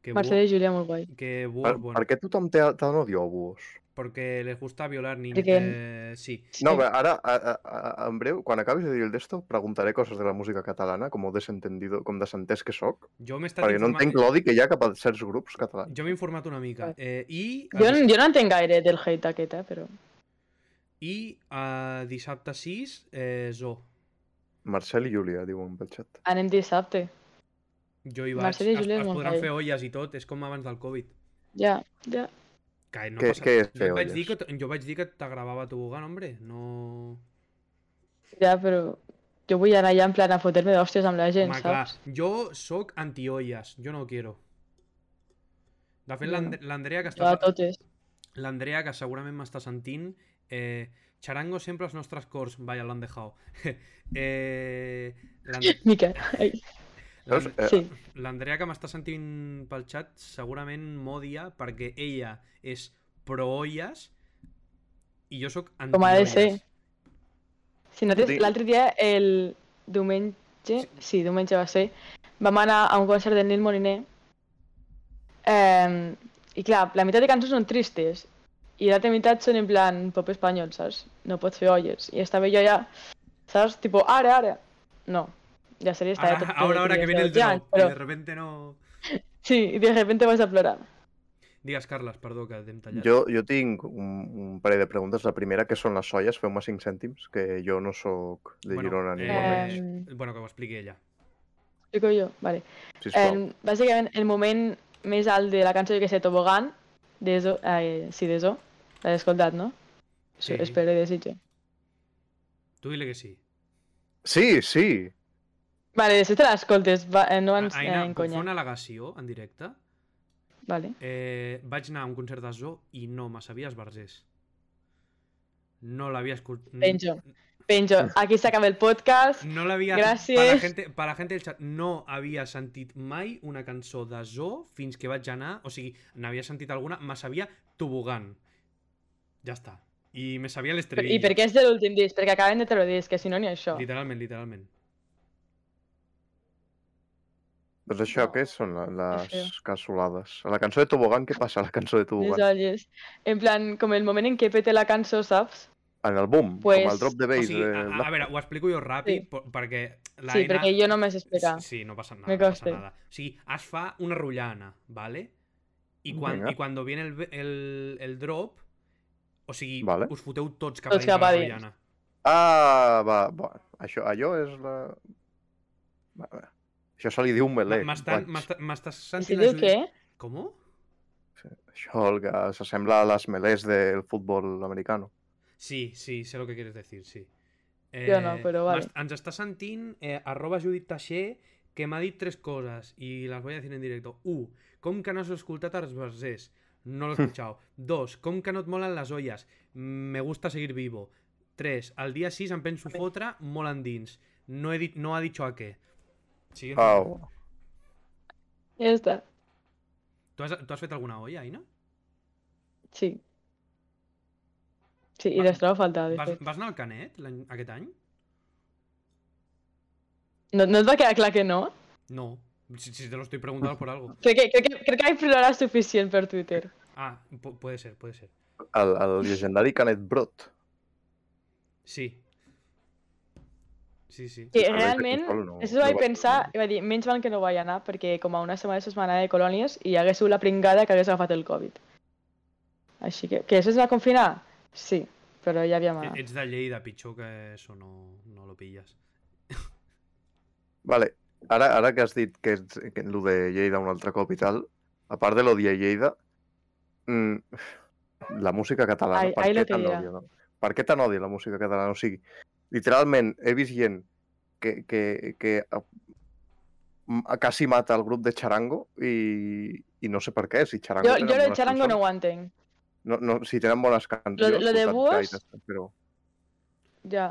Speaker 1: Que, Búhos-
Speaker 3: Marcel i Júlia, molt guai.
Speaker 1: que Búhos,
Speaker 2: Per,
Speaker 1: bueno,
Speaker 2: per què tothom té tan odio a Buos?
Speaker 1: porque les gusta violar niños.
Speaker 3: Perquè-
Speaker 1: Eh, sí.
Speaker 2: No, bé, ara, a, a, a, en breu, quan acabis de dir el d'esto, preguntaré coses de la música catalana, com ho desentendido, com desentès que sóc,
Speaker 1: Jo m'he estat
Speaker 2: perquè no
Speaker 1: informa-
Speaker 2: entenc l'odi que hi ha cap a certs grups catalans.
Speaker 1: Jo m'he informat una mica. Eh, I,
Speaker 3: Jo, no- jo no entenc gaire del hate aquest, eh, però...
Speaker 1: i eh, dissabte 6, eh, Zoo.
Speaker 2: Marcel i Júlia, diuen pel xat.
Speaker 3: Anem dissabte.
Speaker 1: Jo hi vaig.
Speaker 3: Marcel i
Speaker 1: es,
Speaker 3: Júlia
Speaker 1: es
Speaker 3: és molt
Speaker 1: podran
Speaker 3: guai.
Speaker 1: fer olles i tot, és com abans del Covid.
Speaker 3: Ja, ja.
Speaker 1: Que no
Speaker 2: Què-
Speaker 1: passa...
Speaker 2: què és
Speaker 1: jo,
Speaker 2: fer
Speaker 1: et vaig
Speaker 2: olles?
Speaker 1: dir que, t- jo vaig dir que t'agravava tobogan, hombre. No...
Speaker 3: Ja, però... Jo vull anar allà en plan a fotre-me d'hòsties amb la gent,
Speaker 1: Home, clar,
Speaker 3: saps?
Speaker 1: jo sóc antiolles, jo no ho quiero. De fet,
Speaker 3: Jo no.
Speaker 1: l'And- l'Andrea que,
Speaker 3: Jo
Speaker 1: està...
Speaker 3: a totes.
Speaker 1: l'Andrea, que segurament m'està sentint, eh, charango sempre als nostres cors. Vaya, l'han dejado. eh, l'And-
Speaker 3: Mica. Ai,
Speaker 2: Saps?
Speaker 1: Doncs
Speaker 2: Eh,
Speaker 3: sí.
Speaker 1: L'Andrea que m'està sentint pel xat segurament m'odia perquè ella és pro-olles i jo sóc anti
Speaker 3: Com ha de ser. Si nosaltres,
Speaker 2: Vull dir-
Speaker 3: l'altre dia, el diumenge, sí, diumenge va ser, vam anar a un concert de Nil Moliner eh, i clar, la meitat de cançons són tristes i l'altra meitat són en plan pop espanyol, saps? No pots fer olles. I estava jo ja, saps? Tipo, ara, ara. No, ja seria estar
Speaker 1: Ahora, ahora, ahora que viene el drop y de repente no...
Speaker 3: Sí, y de repente vas a plorar.
Speaker 1: Digues, Carles, perdó, que t'hem tallat.
Speaker 2: Jo, jo tinc un, un parell de preguntes. La primera, que són les olles? Feu-me 5 cèntims, que jo no sóc de
Speaker 1: Bueno,
Speaker 2: Girona ni
Speaker 1: eh,
Speaker 2: molt menys,
Speaker 3: menys.
Speaker 1: Bueno, que ho expliqui ella.
Speaker 3: Explico jo, vale.
Speaker 2: sisplau.
Speaker 3: El, bàsicament, el moment més alt de la cançó, jo que sé, Tobogan, de Zo, eh, sí, de Zo, l'has escoltat, no?
Speaker 1: Sí.
Speaker 3: Sí. Espero i desitjo.
Speaker 1: Tu dile que sí.
Speaker 2: Sí, sí!
Speaker 3: Vale, si te l'escoltes, va, eh, no
Speaker 1: A-
Speaker 3: ens eh,
Speaker 1: Ah, Aina, puc fer
Speaker 3: enconya.
Speaker 1: una al·legació en directe?
Speaker 3: Vale.
Speaker 1: Eh, vaig anar a un concert de Zoo i no me sabia els versers. No l'havia escoltat.
Speaker 3: Penjo.
Speaker 1: Mm.
Speaker 3: Penjo, aquí s'acaba el podcast.
Speaker 1: No l'havia...
Speaker 3: Gràcies.
Speaker 1: Per la, gente, per la gente del chat, no havia sentit mai una cançó de Zoo fins que vaig anar... O sigui, n'havia sentit alguna, me sabia Tobogan. Ja està. I me sabia
Speaker 3: Per-
Speaker 1: l'estribillo.
Speaker 3: I per què és de l'últim disc? Perquè acaben de treure disc, que si no n'hi ha això.
Speaker 1: Literalment, literalment.
Speaker 2: Doncs això,
Speaker 3: No.
Speaker 2: què són la-
Speaker 3: feo.
Speaker 2: les cassolades? A la cançó de Tobogan, què passa a la cançó de
Speaker 3: Les
Speaker 2: Tobogan?
Speaker 3: olles. En plan, com el moment en què pete la cançó, saps?
Speaker 2: En el boom,
Speaker 3: Pues-
Speaker 2: com el drop de
Speaker 1: O
Speaker 2: bass.
Speaker 1: sigui, a,
Speaker 2: eh,
Speaker 1: a, a veure, ho explico jo ràpid,
Speaker 3: Sí.
Speaker 1: sí. perquè... La
Speaker 3: Sí, perquè jo no m'he explicar.
Speaker 1: Sí, sí, no pasa nada.
Speaker 3: Me
Speaker 1: No pasa
Speaker 3: consta.
Speaker 1: nada. Sí, es fa una rullana, ¿vale? Y, quan,
Speaker 2: Vinga.
Speaker 1: y cuando viene el, ve- el, el drop, o sigui,
Speaker 2: Vale.
Speaker 1: us foteu tots cap a
Speaker 3: Tots
Speaker 1: dins de
Speaker 3: cap
Speaker 1: la
Speaker 3: a dins.
Speaker 1: rullana.
Speaker 2: Ah, va, va. Això, allò és la... Va, va. Això se li diu melé.
Speaker 1: M- m'estan-
Speaker 2: vaig.
Speaker 1: m'esta- M'estàs
Speaker 3: Si
Speaker 1: sentint...
Speaker 3: diu
Speaker 1: les-
Speaker 3: què?
Speaker 1: ¿Cómo?
Speaker 2: Això el que s'assembla a les melés del futbol americano.
Speaker 1: Sí, sí, sé lo que quieres decir, sí. Eh,
Speaker 3: Jo no, però vale.
Speaker 1: m'est- Ens està sentint eh, arroba Judit Taixer que m'ha dit tres coses i les voy a decir en directo. U, com que no has escoltat els versers? No l'he escuchado. Dos, com que no et molen les olles? Me gusta seguir vivo. Tres, al dia 6 em penso fotre molt endins. No, he dit, no ha dicho a què. Siguiente.
Speaker 2: Au.
Speaker 3: Ja està.
Speaker 1: Tu, has, tu has fet alguna olla, Aina?
Speaker 3: Sí. Sí, i
Speaker 1: Va-
Speaker 3: les trobo a faltar, de
Speaker 1: Vas,
Speaker 3: fet.
Speaker 1: vas anar al Canet l'any- aquest any?
Speaker 3: No, no et va quedar clar que no?
Speaker 1: No. Si, si te lo estoy preguntando por algo.
Speaker 3: Crec que, crec que, crec que hay plorarà suficient per Twitter.
Speaker 1: Ah, pu- puede ser, puede ser.
Speaker 2: El, el legendari Canet Brot.
Speaker 1: Sí. Sí, E, sí.
Speaker 3: Que
Speaker 2: A veure,
Speaker 3: realment,
Speaker 2: jo sol no-
Speaker 3: això
Speaker 2: no
Speaker 3: ho vaig
Speaker 2: vaig
Speaker 3: pensar
Speaker 2: anar.
Speaker 3: i vaig dir, menys mal que no vaig anar perquè com a una setmana després m'anava de colònies i hi hagués sigut la pringada que hagués agafat el Covid. Així que, que això es va confinar? Sí, però ja havíem
Speaker 1: E-
Speaker 3: anat.
Speaker 1: Ets de Lleida, pitjor que eso no, no lo pillas.
Speaker 2: Vale. Ara, ara que has dit que, ets, que lo de Lleida un altre cop i tal, a part de l'odi a Lleida, mm, la música catalana,
Speaker 3: Ai-
Speaker 2: per,
Speaker 3: ai, lo
Speaker 2: què
Speaker 3: que
Speaker 2: tan
Speaker 3: dirà.
Speaker 2: odia, no? per què tan odia la música catalana? O sigui, literalment he vist gent que, que, que a, m- a quasi mata el grup de Charango i, i no sé per què, si Charango...
Speaker 3: Jo,
Speaker 2: tenen
Speaker 3: jo el
Speaker 2: bones
Speaker 3: xarango no
Speaker 2: cançons.
Speaker 3: ho entenc.
Speaker 2: No, no, si tenen bones cançons.
Speaker 3: Lo de- lo de
Speaker 2: escoltat
Speaker 3: Bues?
Speaker 2: gaires, Però...
Speaker 3: Ja.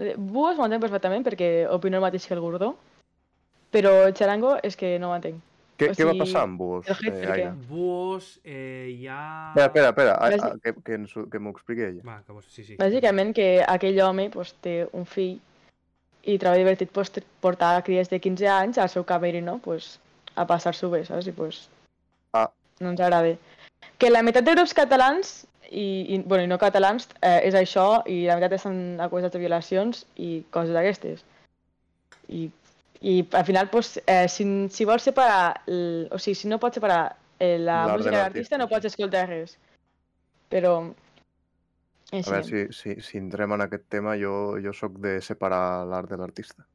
Speaker 3: Eh, Bues ho entenc perfectament perquè opino el mateix que el Gordó, però el xarango és que no ho entenc.
Speaker 2: Què,
Speaker 3: O
Speaker 2: què va
Speaker 3: sigui,
Speaker 2: passar amb vos?
Speaker 3: el jefe,
Speaker 2: Eh, Aina?
Speaker 3: què?
Speaker 1: Buos, eh, hi ha...
Speaker 2: Espera, espera, espera. a-
Speaker 3: Vas-
Speaker 2: a- que, que, ens ho- que m'ho expliqui ella.
Speaker 1: Va, que vos... sí, sí.
Speaker 3: Bàsicament que aquell home pues, té un fill i troba divertit pues, tr- portar a cries de 15 anys al seu camerino pues, a passar-s'ho bé, saps? I pues,
Speaker 2: Ah.
Speaker 3: no ens agrada. Que la meitat de grups catalans i, i, bueno, i no catalans eh, és això i la meitat estan acusats de violacions i coses d'aquestes. I, I al final, pues, eh, si, si vols separar, el, o sigui, si no pots separar eh,
Speaker 2: L'art
Speaker 3: la
Speaker 2: de
Speaker 3: música
Speaker 2: l'artista,
Speaker 3: de l'artista no
Speaker 2: sí.
Speaker 3: pots escoltar res. Però...
Speaker 2: A veure si, si, si entrem en aquest tema, jo, jo sóc de separar l'art de l'artista.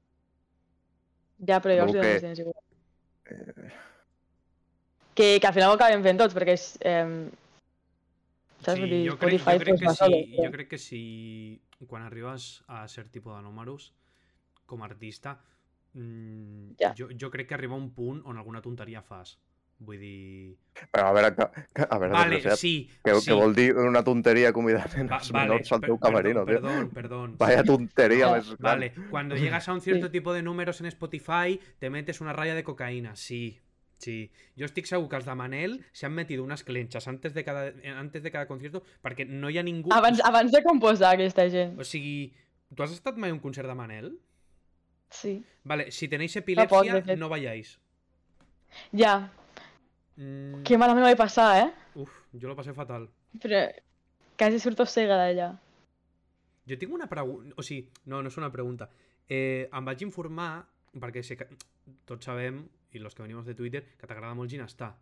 Speaker 3: Ja, però llavors
Speaker 2: Segur
Speaker 3: okay.
Speaker 2: que-
Speaker 3: tens igual.
Speaker 2: Eh,
Speaker 3: Que, que al final ho acabem fent tots, perquè és... Eh, saps? Vull dir,
Speaker 1: Sí, jo crec,
Speaker 3: Spotify
Speaker 1: jo, crec
Speaker 3: pues,
Speaker 1: que
Speaker 3: va sol.
Speaker 1: si, jo crec que si quan arribes a cert tipus de números com a artista mm,
Speaker 3: Ja.
Speaker 1: jo, jo crec que arriba un punt on alguna tonteria fas vull dir...
Speaker 2: Però a veure, que, que, a veure
Speaker 1: vale,
Speaker 2: desgraciat,
Speaker 1: sí,
Speaker 2: que,
Speaker 1: sí.
Speaker 2: que vol dir una tonteria convidar
Speaker 1: Va-
Speaker 2: nenes
Speaker 1: vale,
Speaker 2: menors al
Speaker 1: per-
Speaker 2: teu camerino, tio.
Speaker 1: perdón, perdón,
Speaker 2: Vaya
Speaker 1: sí.
Speaker 2: tonteria
Speaker 3: Ah,
Speaker 2: més gran.
Speaker 1: Vale, cuando llegas a un cierto
Speaker 3: Sí.
Speaker 1: tipo de números en Spotify, te metes una raya de cocaína, sí. Sí. Jo estic segur que els de Manel s'han metido unes clenxes antes de cada, antes de cada concierto perquè no hi ha ningú...
Speaker 3: Abans, abans de composar aquesta gent.
Speaker 1: O sigui, tu has estat mai a un concert de Manel?
Speaker 3: Sí.
Speaker 1: Vale, si tenéis
Speaker 3: poc, de
Speaker 1: epilepsia,
Speaker 3: fet.
Speaker 1: no vayáis.
Speaker 3: Ja,
Speaker 1: Mm,
Speaker 3: que malament ho vaig passar, eh?
Speaker 1: Uf, yo lo pasé fatal.
Speaker 3: Però quasi surto cega d'allà.
Speaker 1: Yo tengo una pregunta... O sigui, no, no es una pregunta. Eh, em vaig informar, perquè sé que tots sabem, i los que venimos de Twitter, que t'agrada molt Ginestar.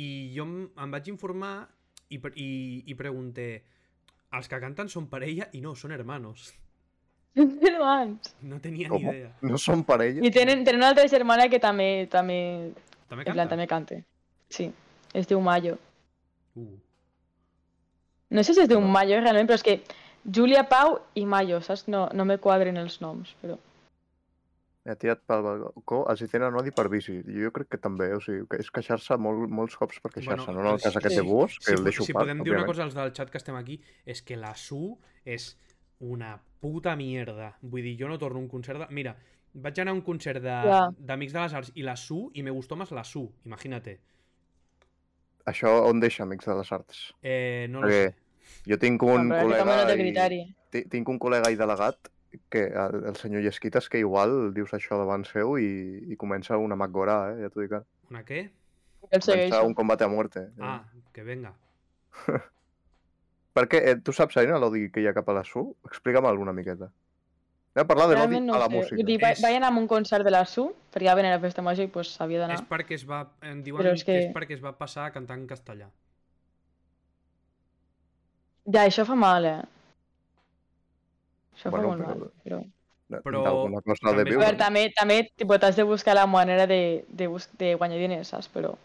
Speaker 1: I jo em, em vaig informar i, pre- i, i pregunté els que canten són parella i no, són hermanos.
Speaker 3: Germans.
Speaker 1: No tenia ni
Speaker 2: Com?
Speaker 1: idea.
Speaker 2: No són parella?
Speaker 3: I tenen, tenen una altra germana que també, també,
Speaker 1: També
Speaker 3: en plan,
Speaker 1: canta?
Speaker 3: també canta. Sí, es diu Mayo.
Speaker 1: Uh,
Speaker 3: No sé si es diu
Speaker 2: No.
Speaker 3: Mayo realment, però és que Júlia Pau i Mayo, saps? No, no me quadren els noms, però...
Speaker 2: He tirat pel balcó, els hi tenen odi per bici. Jo crec que també, o sigui, que és queixar-se molt, molts cops per queixar-se, no? No el
Speaker 1: si-
Speaker 2: cas aquest
Speaker 3: sí.
Speaker 2: de Buos, que
Speaker 1: si,
Speaker 2: el
Speaker 1: po-
Speaker 2: deixo
Speaker 1: si
Speaker 2: part,
Speaker 1: podem dir una
Speaker 2: òbviament.
Speaker 1: cosa als del chat que estem aquí, és que la Su és una puta mierda. Vull dir, jo no torno a un concert de... Mira, vaig anar a un concert de-
Speaker 3: Ja.
Speaker 1: d'Amics de, les Arts i la Su, i me gustó más la Su, imagínate.
Speaker 2: Això on deixa, amics de les arts?
Speaker 1: Eh, no lo
Speaker 2: Perquè
Speaker 1: sé.
Speaker 2: Jo tinc un
Speaker 3: Bueno, però que també
Speaker 2: col·lega...
Speaker 3: no té
Speaker 2: i-
Speaker 3: criteri.
Speaker 2: ti- Tinc un col·lega i delegat que el, el senyor Llesquites que igual dius això davant seu i, i comença una macgorà, eh? ja t'ho dic. ara.
Speaker 1: Una què?
Speaker 2: Eh.
Speaker 3: El
Speaker 2: Comença
Speaker 3: segueixo.
Speaker 2: un combate a muerte. eh.
Speaker 1: Ah, que venga.
Speaker 2: Perquè eh, tu saps, Aina, l'odi que hi ha cap a la SU? Explica'm-ho una miqueta. Anem a parlar de l'odi
Speaker 3: Realment no
Speaker 2: a la
Speaker 3: ho sé.
Speaker 2: música.
Speaker 3: Vull dir, va,
Speaker 1: És-
Speaker 3: vaig anar a un concert de la SU, perquè ja venia a la festa major i pues, havia d'anar.
Speaker 1: És perquè es va... Em diuen
Speaker 3: Però és
Speaker 1: que...
Speaker 3: que-
Speaker 1: és perquè es va passar a cantar en castellà.
Speaker 3: Ja, això fa mal, eh? Això
Speaker 2: Bueno,
Speaker 3: fa molt
Speaker 2: però-
Speaker 3: mal. Però...
Speaker 2: No,
Speaker 1: però
Speaker 2: d'alguna cosa
Speaker 1: també-
Speaker 2: de
Speaker 3: A
Speaker 2: viure.
Speaker 3: veure, també, també tipo, t'has de buscar la manera de, de, bus de guanyar diners, saps? Però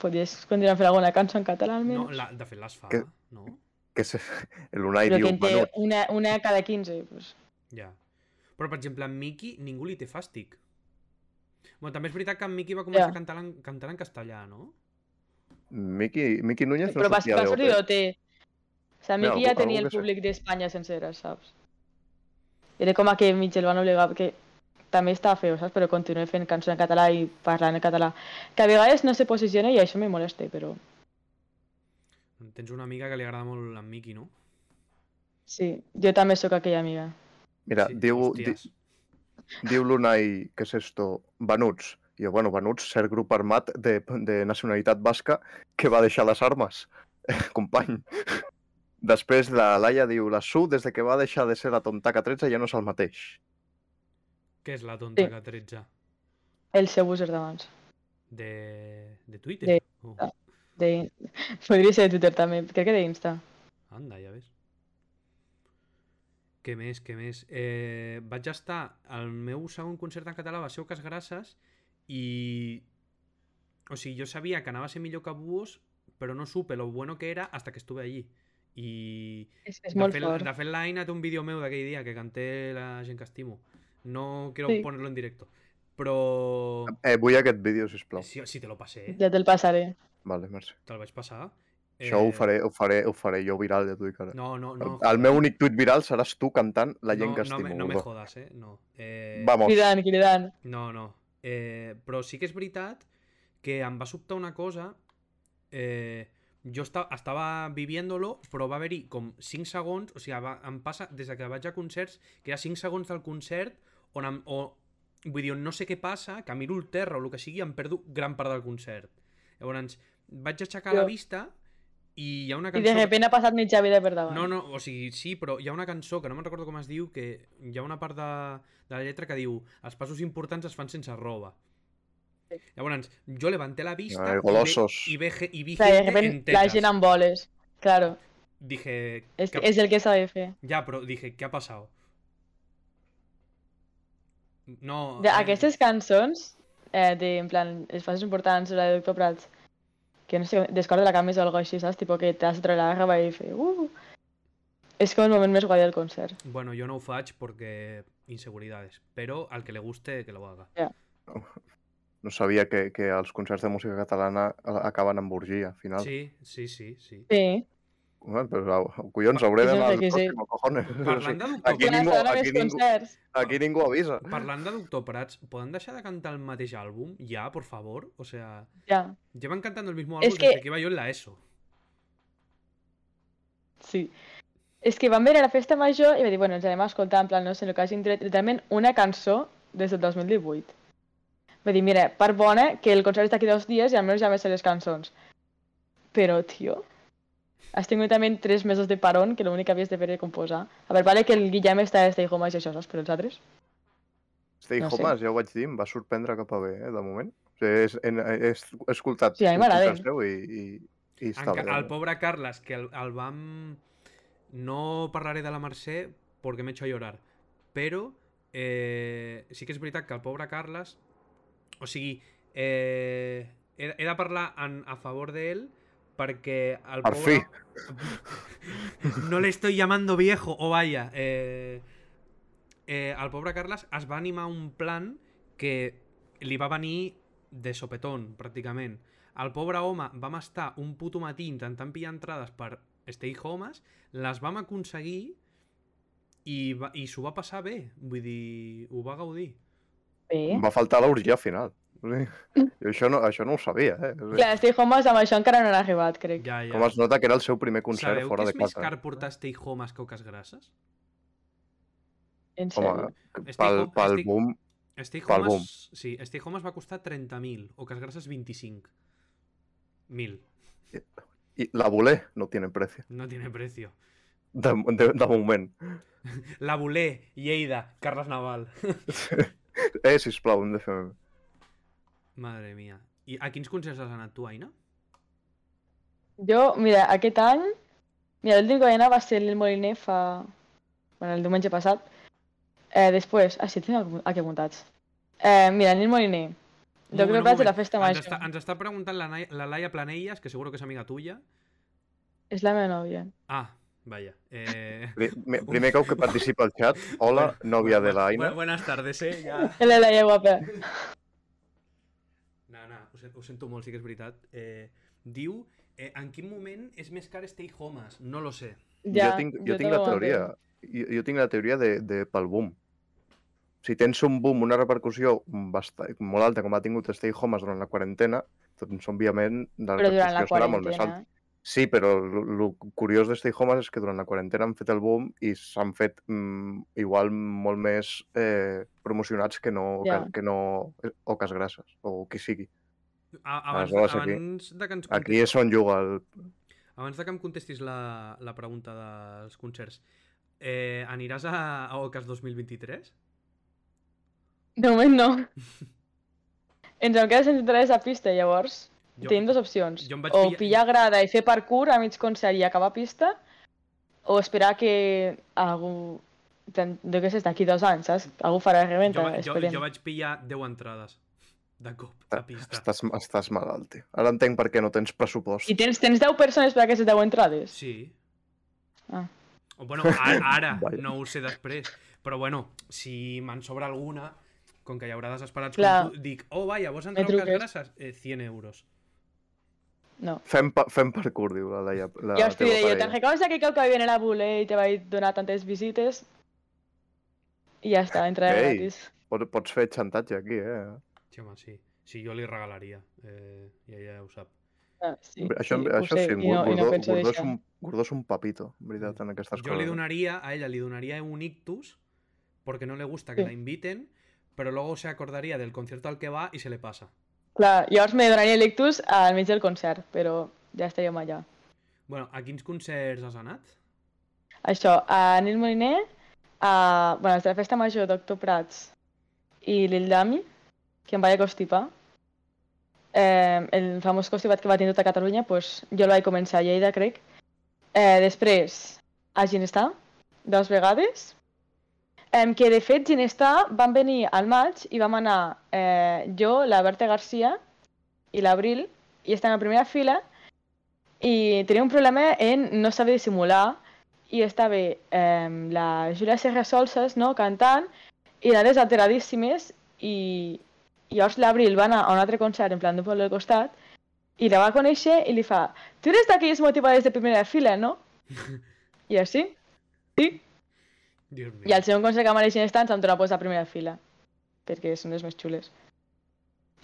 Speaker 3: podries continuar fent alguna cançó en català, almenys.
Speaker 1: No, la, de fet les fa,
Speaker 2: Que-
Speaker 1: no?
Speaker 2: que se... l'Unai
Speaker 3: Però
Speaker 2: diu,
Speaker 3: que en té
Speaker 2: bueno,
Speaker 3: una, una cada 15, pues.
Speaker 1: Ja. Però, per exemple, en Miki ningú li té fàstic. Bueno, també és veritat que en Miki va començar
Speaker 3: Ja.
Speaker 1: a cantar en, cantant en castellà, no?
Speaker 2: Miqui, Miqui Núñez no
Speaker 3: Però va,
Speaker 2: sortia
Speaker 3: va
Speaker 2: de
Speaker 3: sortir
Speaker 2: OT.
Speaker 3: d'OT. O sigui, a mi
Speaker 2: Mira,
Speaker 3: aquí
Speaker 2: algú-
Speaker 3: ja tenia
Speaker 2: algú que
Speaker 3: el
Speaker 2: sé.
Speaker 3: públic d'Espanya sencera, saps? Era com a que mig el van obligar, que també està feo, saps? Però continuo fent cançons en català i parlant en català. Que a vegades no se posiciona i això me molesta, però...
Speaker 1: Tens una amiga que li agrada molt en Miki, no?
Speaker 3: Sí, jo també sóc aquella amiga.
Speaker 2: Mira,
Speaker 1: Sí,
Speaker 2: diu, di,
Speaker 1: hòsties.
Speaker 2: diu l'Unai, que és esto, venuts. I jo, bueno, venuts, cert grup armat de, de nacionalitat basca que va deixar les armes, company. Després la Laia diu, la Su, des de que va deixar de ser la Tontaca 13, ja no és el mateix.
Speaker 1: Què és la tonta
Speaker 3: Sí.
Speaker 1: que 13?
Speaker 3: El seu user d'abans.
Speaker 1: De, de Twitter?
Speaker 3: De-
Speaker 1: Oh,
Speaker 3: ah. De... Podria ser de Twitter també, crec que d'Insta.
Speaker 1: anda, ja ves. Què més, què més? Eh, vaig estar... El meu segon concert en català va ser Oques Grasses i... O sigui, jo sabia que anava a ser millor que Búhos, però no supe lo bueno que era hasta que estuve allí. I
Speaker 3: És, és
Speaker 1: De
Speaker 3: molt
Speaker 1: fet,
Speaker 3: fort.
Speaker 1: de fet, l'Aina té un vídeo meu d'aquell dia que canté la gent que estimo. No quiero
Speaker 3: Sí.
Speaker 1: ponerlo en directo. Però...
Speaker 2: Eh, vull aquest vídeo, sisplau.
Speaker 1: Si, si te lo pasé, eh?
Speaker 3: Ja te'l passaré.
Speaker 2: Vale, merci.
Speaker 1: Te'l vaig passar.
Speaker 2: Això ho faré, ho faré, ho faré jo viral, ja t'ho dic ara.
Speaker 1: No, Eh, no, no.
Speaker 2: el meu únic tuit viral seràs tu cantant Ah, la gent
Speaker 1: no,
Speaker 2: que
Speaker 1: no me-
Speaker 2: estimo.
Speaker 1: No me
Speaker 2: Hugo.
Speaker 1: jodas, eh? No. Eh,
Speaker 2: Vamos.
Speaker 3: Cridant, cridant.
Speaker 1: No, no. Eh, però sí que és veritat que em va sobtar una cosa. Eh, jo esta, estava viviéndolo, però va haver-hi com 5 segons, o sigui, va, em passa des de que vaig a concerts, que hi ha 5 segons del concert on, em, o, vull dir, on no sé què passa, que miro el terra o el que sigui, em perdo gran part del concert. Llavors, vaig aixecar
Speaker 3: Jo.
Speaker 1: la vista i hi ha una
Speaker 3: Y
Speaker 1: cançó...
Speaker 3: de repente ha pasado mitja vida per davant.
Speaker 1: No, no, o sigui, sí, però hi ha una cançó que no me'n recordo com es diu, que hi ha una part de, de la lletra que diu els passos importants es fan sense roba.
Speaker 3: Sí.
Speaker 1: Llavors, jo levanté la vista i
Speaker 2: Ai,
Speaker 1: ve-
Speaker 2: golosos.
Speaker 1: i, ve, ge- i vi
Speaker 3: O sea, de
Speaker 1: gente en
Speaker 3: repente la
Speaker 1: tetas.
Speaker 3: gent amb boles. Claro,
Speaker 1: Dije,
Speaker 3: es,
Speaker 1: "Cap-
Speaker 3: es el que sabe fer.
Speaker 1: ya, pero dije, ¿qué ha pasado? No.
Speaker 3: De, este
Speaker 1: eh,
Speaker 3: aquestes cançons, eh, de, en plan, les fases importants, la de Doctor Prats, que no sé, descorda la camisa o algo així, saps? Tipo que t'has de treure la roba i fer... Uh! És com el moment més guai del concert.
Speaker 1: Bueno, yo no fudge porque inseguridades, pero al que le guste, que lo haga.
Speaker 2: No sabia que, que els concerts de música catalana a- acaben amb orgia, al final. Sí.
Speaker 1: Sí, sí, sí, sí.
Speaker 3: Sí.
Speaker 2: Bueno, però, au, collons, hauré
Speaker 3: Sí, sí,
Speaker 2: d'anar al
Speaker 3: sí, sí.
Speaker 2: pròxim, cojones.
Speaker 1: Parlant de doctor,
Speaker 2: Aquí
Speaker 3: Quan
Speaker 2: ningú-
Speaker 3: estaran
Speaker 2: aquí
Speaker 3: els
Speaker 2: ningú-
Speaker 3: concerts.
Speaker 2: Aquí ningú avisa.
Speaker 1: Parlant de Doctor Prats, ¿pueden dejar de cantar el mateix álbum? Ya, por favor. O sea,
Speaker 3: Ja,
Speaker 1: llevan cantando el mismo álbum
Speaker 3: Es
Speaker 1: desde
Speaker 3: que-
Speaker 1: que iba yo en la ESO.
Speaker 3: sí. És que vam venir a la festa major i va dir, bueno, ens anem a escoltar, en plan, no sé, el que hagin tret literalment una cançó des del 2018. Va dir, mira, part bona, que el concert està aquí dos dies i almenys ja me sé les cançons. Però, tio, has tingut també tres mesos de parón, que l'únic que havies de fer era composar. A veure, vale que el Guillem està de Stay Home i això, saps? Però els altres?
Speaker 2: Stay
Speaker 3: No
Speaker 2: no
Speaker 3: sé.
Speaker 2: Home, ja ho vaig dir, em va sorprendre cap a bé, eh, de moment. O sigui, és, en, he, he escoltat
Speaker 3: Sí, a mi m'agrada,
Speaker 2: concert seu i, i, i està
Speaker 1: Enca-
Speaker 2: bé.
Speaker 1: al pobre Carles, que el, el vam- No parlaré de la Mercè porque me he hecho a llorar, pero eh, sí que es verdad que al pobre Carles... O sigui, eh, he, he de parlar en- a favor de él porque al
Speaker 2: Per
Speaker 1: pobre... No le estoy llamando viejo, o vaya. Eh, eh, al pobre Carles es va animar un plan que li va venir de sopetón, pràcticament. El pobre home vam estar un puto matí intentant pillar entrades per Stay Homes, les vam aconseguir i, va, i s'ho va passar bé, vull dir, ho va gaudir.
Speaker 3: Bé.
Speaker 2: Em va faltar l'orgia al final. O sigui, jo això no, això no ho sabia, eh? O sigui,
Speaker 3: Clar, Stay Homes amb això encara no han arribat, crec.
Speaker 1: Ja, ja.
Speaker 2: Com es nota que era el seu primer concert
Speaker 1: Sabeu
Speaker 2: fora
Speaker 1: que
Speaker 2: de
Speaker 1: és més
Speaker 2: casa. eh.
Speaker 1: car portar Stay Homes que oques grasses?
Speaker 3: En
Speaker 2: Home,
Speaker 3: sèrio.
Speaker 2: pel,
Speaker 1: Estic
Speaker 2: pel,
Speaker 1: com-
Speaker 2: pel
Speaker 1: estic-
Speaker 2: boom,
Speaker 1: Stay
Speaker 2: Pel boom.
Speaker 1: Homes, sí, Stay Homes va costar 30.000, oques grasses 25. Mil.
Speaker 2: i la voler no tiene precio,
Speaker 1: No tiene precio.
Speaker 2: de, de, de moment.
Speaker 1: La Bulé, Lleida, Carles Naval.
Speaker 2: Eh, sisplau, hem de fer...
Speaker 1: Madre mía. I a quins concerts has anat tu, Aina?
Speaker 3: Jo, mira, aquest any... Mira, l'últim que vaig anar va ser el Moliner fa... Bueno, el diumenge passat. Eh, després... Ah, sí, tinc algun- aquí apuntats. Eh, mira, el Moliner. Jo crec que va ser la festa
Speaker 1: Ens
Speaker 3: major.
Speaker 1: està, ens està preguntant la, Nai- la Laia Planelles, que seguro que és amiga tuya.
Speaker 3: És la meva nòvia.
Speaker 1: Ah, vaya. Eh...
Speaker 2: Pri- me- Primer cau que participa al xat. Hola, nòvia de la Aina.
Speaker 1: Bu- Buenas tardes, eh? Ja...
Speaker 3: És la Laia guapa.
Speaker 1: No, no, ho, sen- ho sento molt, sí que és veritat. Eh, diu, eh, en quin moment és més car Stay Homes? No lo sé.
Speaker 3: Ja,
Speaker 2: jo tinc, jo tinc la
Speaker 3: també ho
Speaker 2: teoria.
Speaker 3: entenc.
Speaker 2: Jo, jo tinc la teoria de, de pel boom. Si tens un boom, una repercussió bastant, molt alta, com ha tingut Stay Homes durant la quarantena, doncs, òbviament, la
Speaker 3: Però durant la
Speaker 2: repercussió serà molt més
Speaker 3: quarantena...
Speaker 2: alta. Sí, però el curiós de Stay Homes és que durant la quarantena han fet el boom i s'han fet mm, igual molt més eh, promocionats que no,
Speaker 3: Ja.
Speaker 2: que, que no Oques Grasses o qui sigui. Ah,
Speaker 1: A, abans,
Speaker 2: Aleshores, aquí-
Speaker 1: abans, de que ens
Speaker 2: Aquí és on juga el...
Speaker 1: Abans de que em contestis la, la pregunta dels concerts, eh, aniràs a, a Ocas 2023?
Speaker 3: De moment no. ens en queda sense tres a pista, llavors. Jo... Tenim dues opcions.
Speaker 1: jo em vaig
Speaker 3: o
Speaker 1: pillar-
Speaker 3: pillar... grada i fer parkour a mig concert i acabar pista, o esperar que algú... tan- Jo què sé, d'aquí dos anys, saps? Algú farà
Speaker 1: jo,
Speaker 3: reventa,
Speaker 1: va- jo,
Speaker 3: esperem.
Speaker 1: jo vaig pillar 10 entrades de cop a pista.
Speaker 2: Estàs, estàs malalt, tio. Ara entenc per què no tens pressupost.
Speaker 3: I tens, tens 10 persones per aquestes 10 entrades?
Speaker 1: Sí.
Speaker 3: Ah.
Speaker 1: O, bueno, ara, ara
Speaker 2: Vaya.
Speaker 1: no ho sé després. Però bueno, si me'n sobra alguna, com que hi haurà desesperats,
Speaker 3: Clar.
Speaker 1: com tu, dic, oh, vaya, vos entrar a
Speaker 3: truques.
Speaker 1: Ocas Grasses? Eh, 100 euros.
Speaker 3: No.
Speaker 2: Fem, pa, fem parkour, diu la Laia. La
Speaker 3: Ja us
Speaker 2: teva
Speaker 3: diré jo, te'n
Speaker 2: parella.
Speaker 3: recordes aquell cop que va venir a la Bule i te vaig donar tantes visites? I ja està, entrarem
Speaker 2: Ei.
Speaker 3: gratis.
Speaker 2: Pots, pots fer xantatge aquí, eh?
Speaker 1: Sí, home, sí. Sí, jo li regalaria. Eh, I ella ja ho sap.
Speaker 3: Ah, sí,
Speaker 2: Hombre, Això,
Speaker 3: ho
Speaker 2: això
Speaker 3: sé,
Speaker 2: sí,
Speaker 3: i no, i
Speaker 2: Gordó,
Speaker 3: no penso
Speaker 2: Gordó, és
Speaker 3: deixar.
Speaker 2: un, Gordó és un papito, en veritat, en aquestes
Speaker 1: Yo le
Speaker 2: coses.
Speaker 1: donaría, a ella le donaría un ictus, porque no le gusta que
Speaker 3: Sí.
Speaker 1: la inviten, pero luego se acordaría del concierto al que va y se le pasa.
Speaker 3: Clar, llavors me donaria l'ictus al mig del concert, però ja estaríem allà.
Speaker 1: Bueno, a quins concerts has anat?
Speaker 3: Això, a Nil Moliner, a, bueno, a la festa major Doctor Prats i Lil Dami, que em vaig constipar. Eh, el famós constipat que va tenir tota Catalunya, pues, jo el vaig començar a Lleida, crec. Eh, després, a Ginestà, dues vegades. Eh, que, de fet, Ginestà van venir al maig i vam anar eh, jo, la Berta Garcia i l'Abril, i estan a la primera fila, i tenia un problema en no saber dissimular, i estava eh, la Júlia Serra Solses no, cantant i nades alteradíssimes i i llavors l'Abril va anar a un altre concert en plan d'un poble al costat i la va conèixer i li fa tu eres d'aquelles motivades de primera fila, no? I així.
Speaker 1: Dios mío.
Speaker 3: I al segon concert que mereixen estar ens vam tornar a posar a primera fila perquè són les més xules.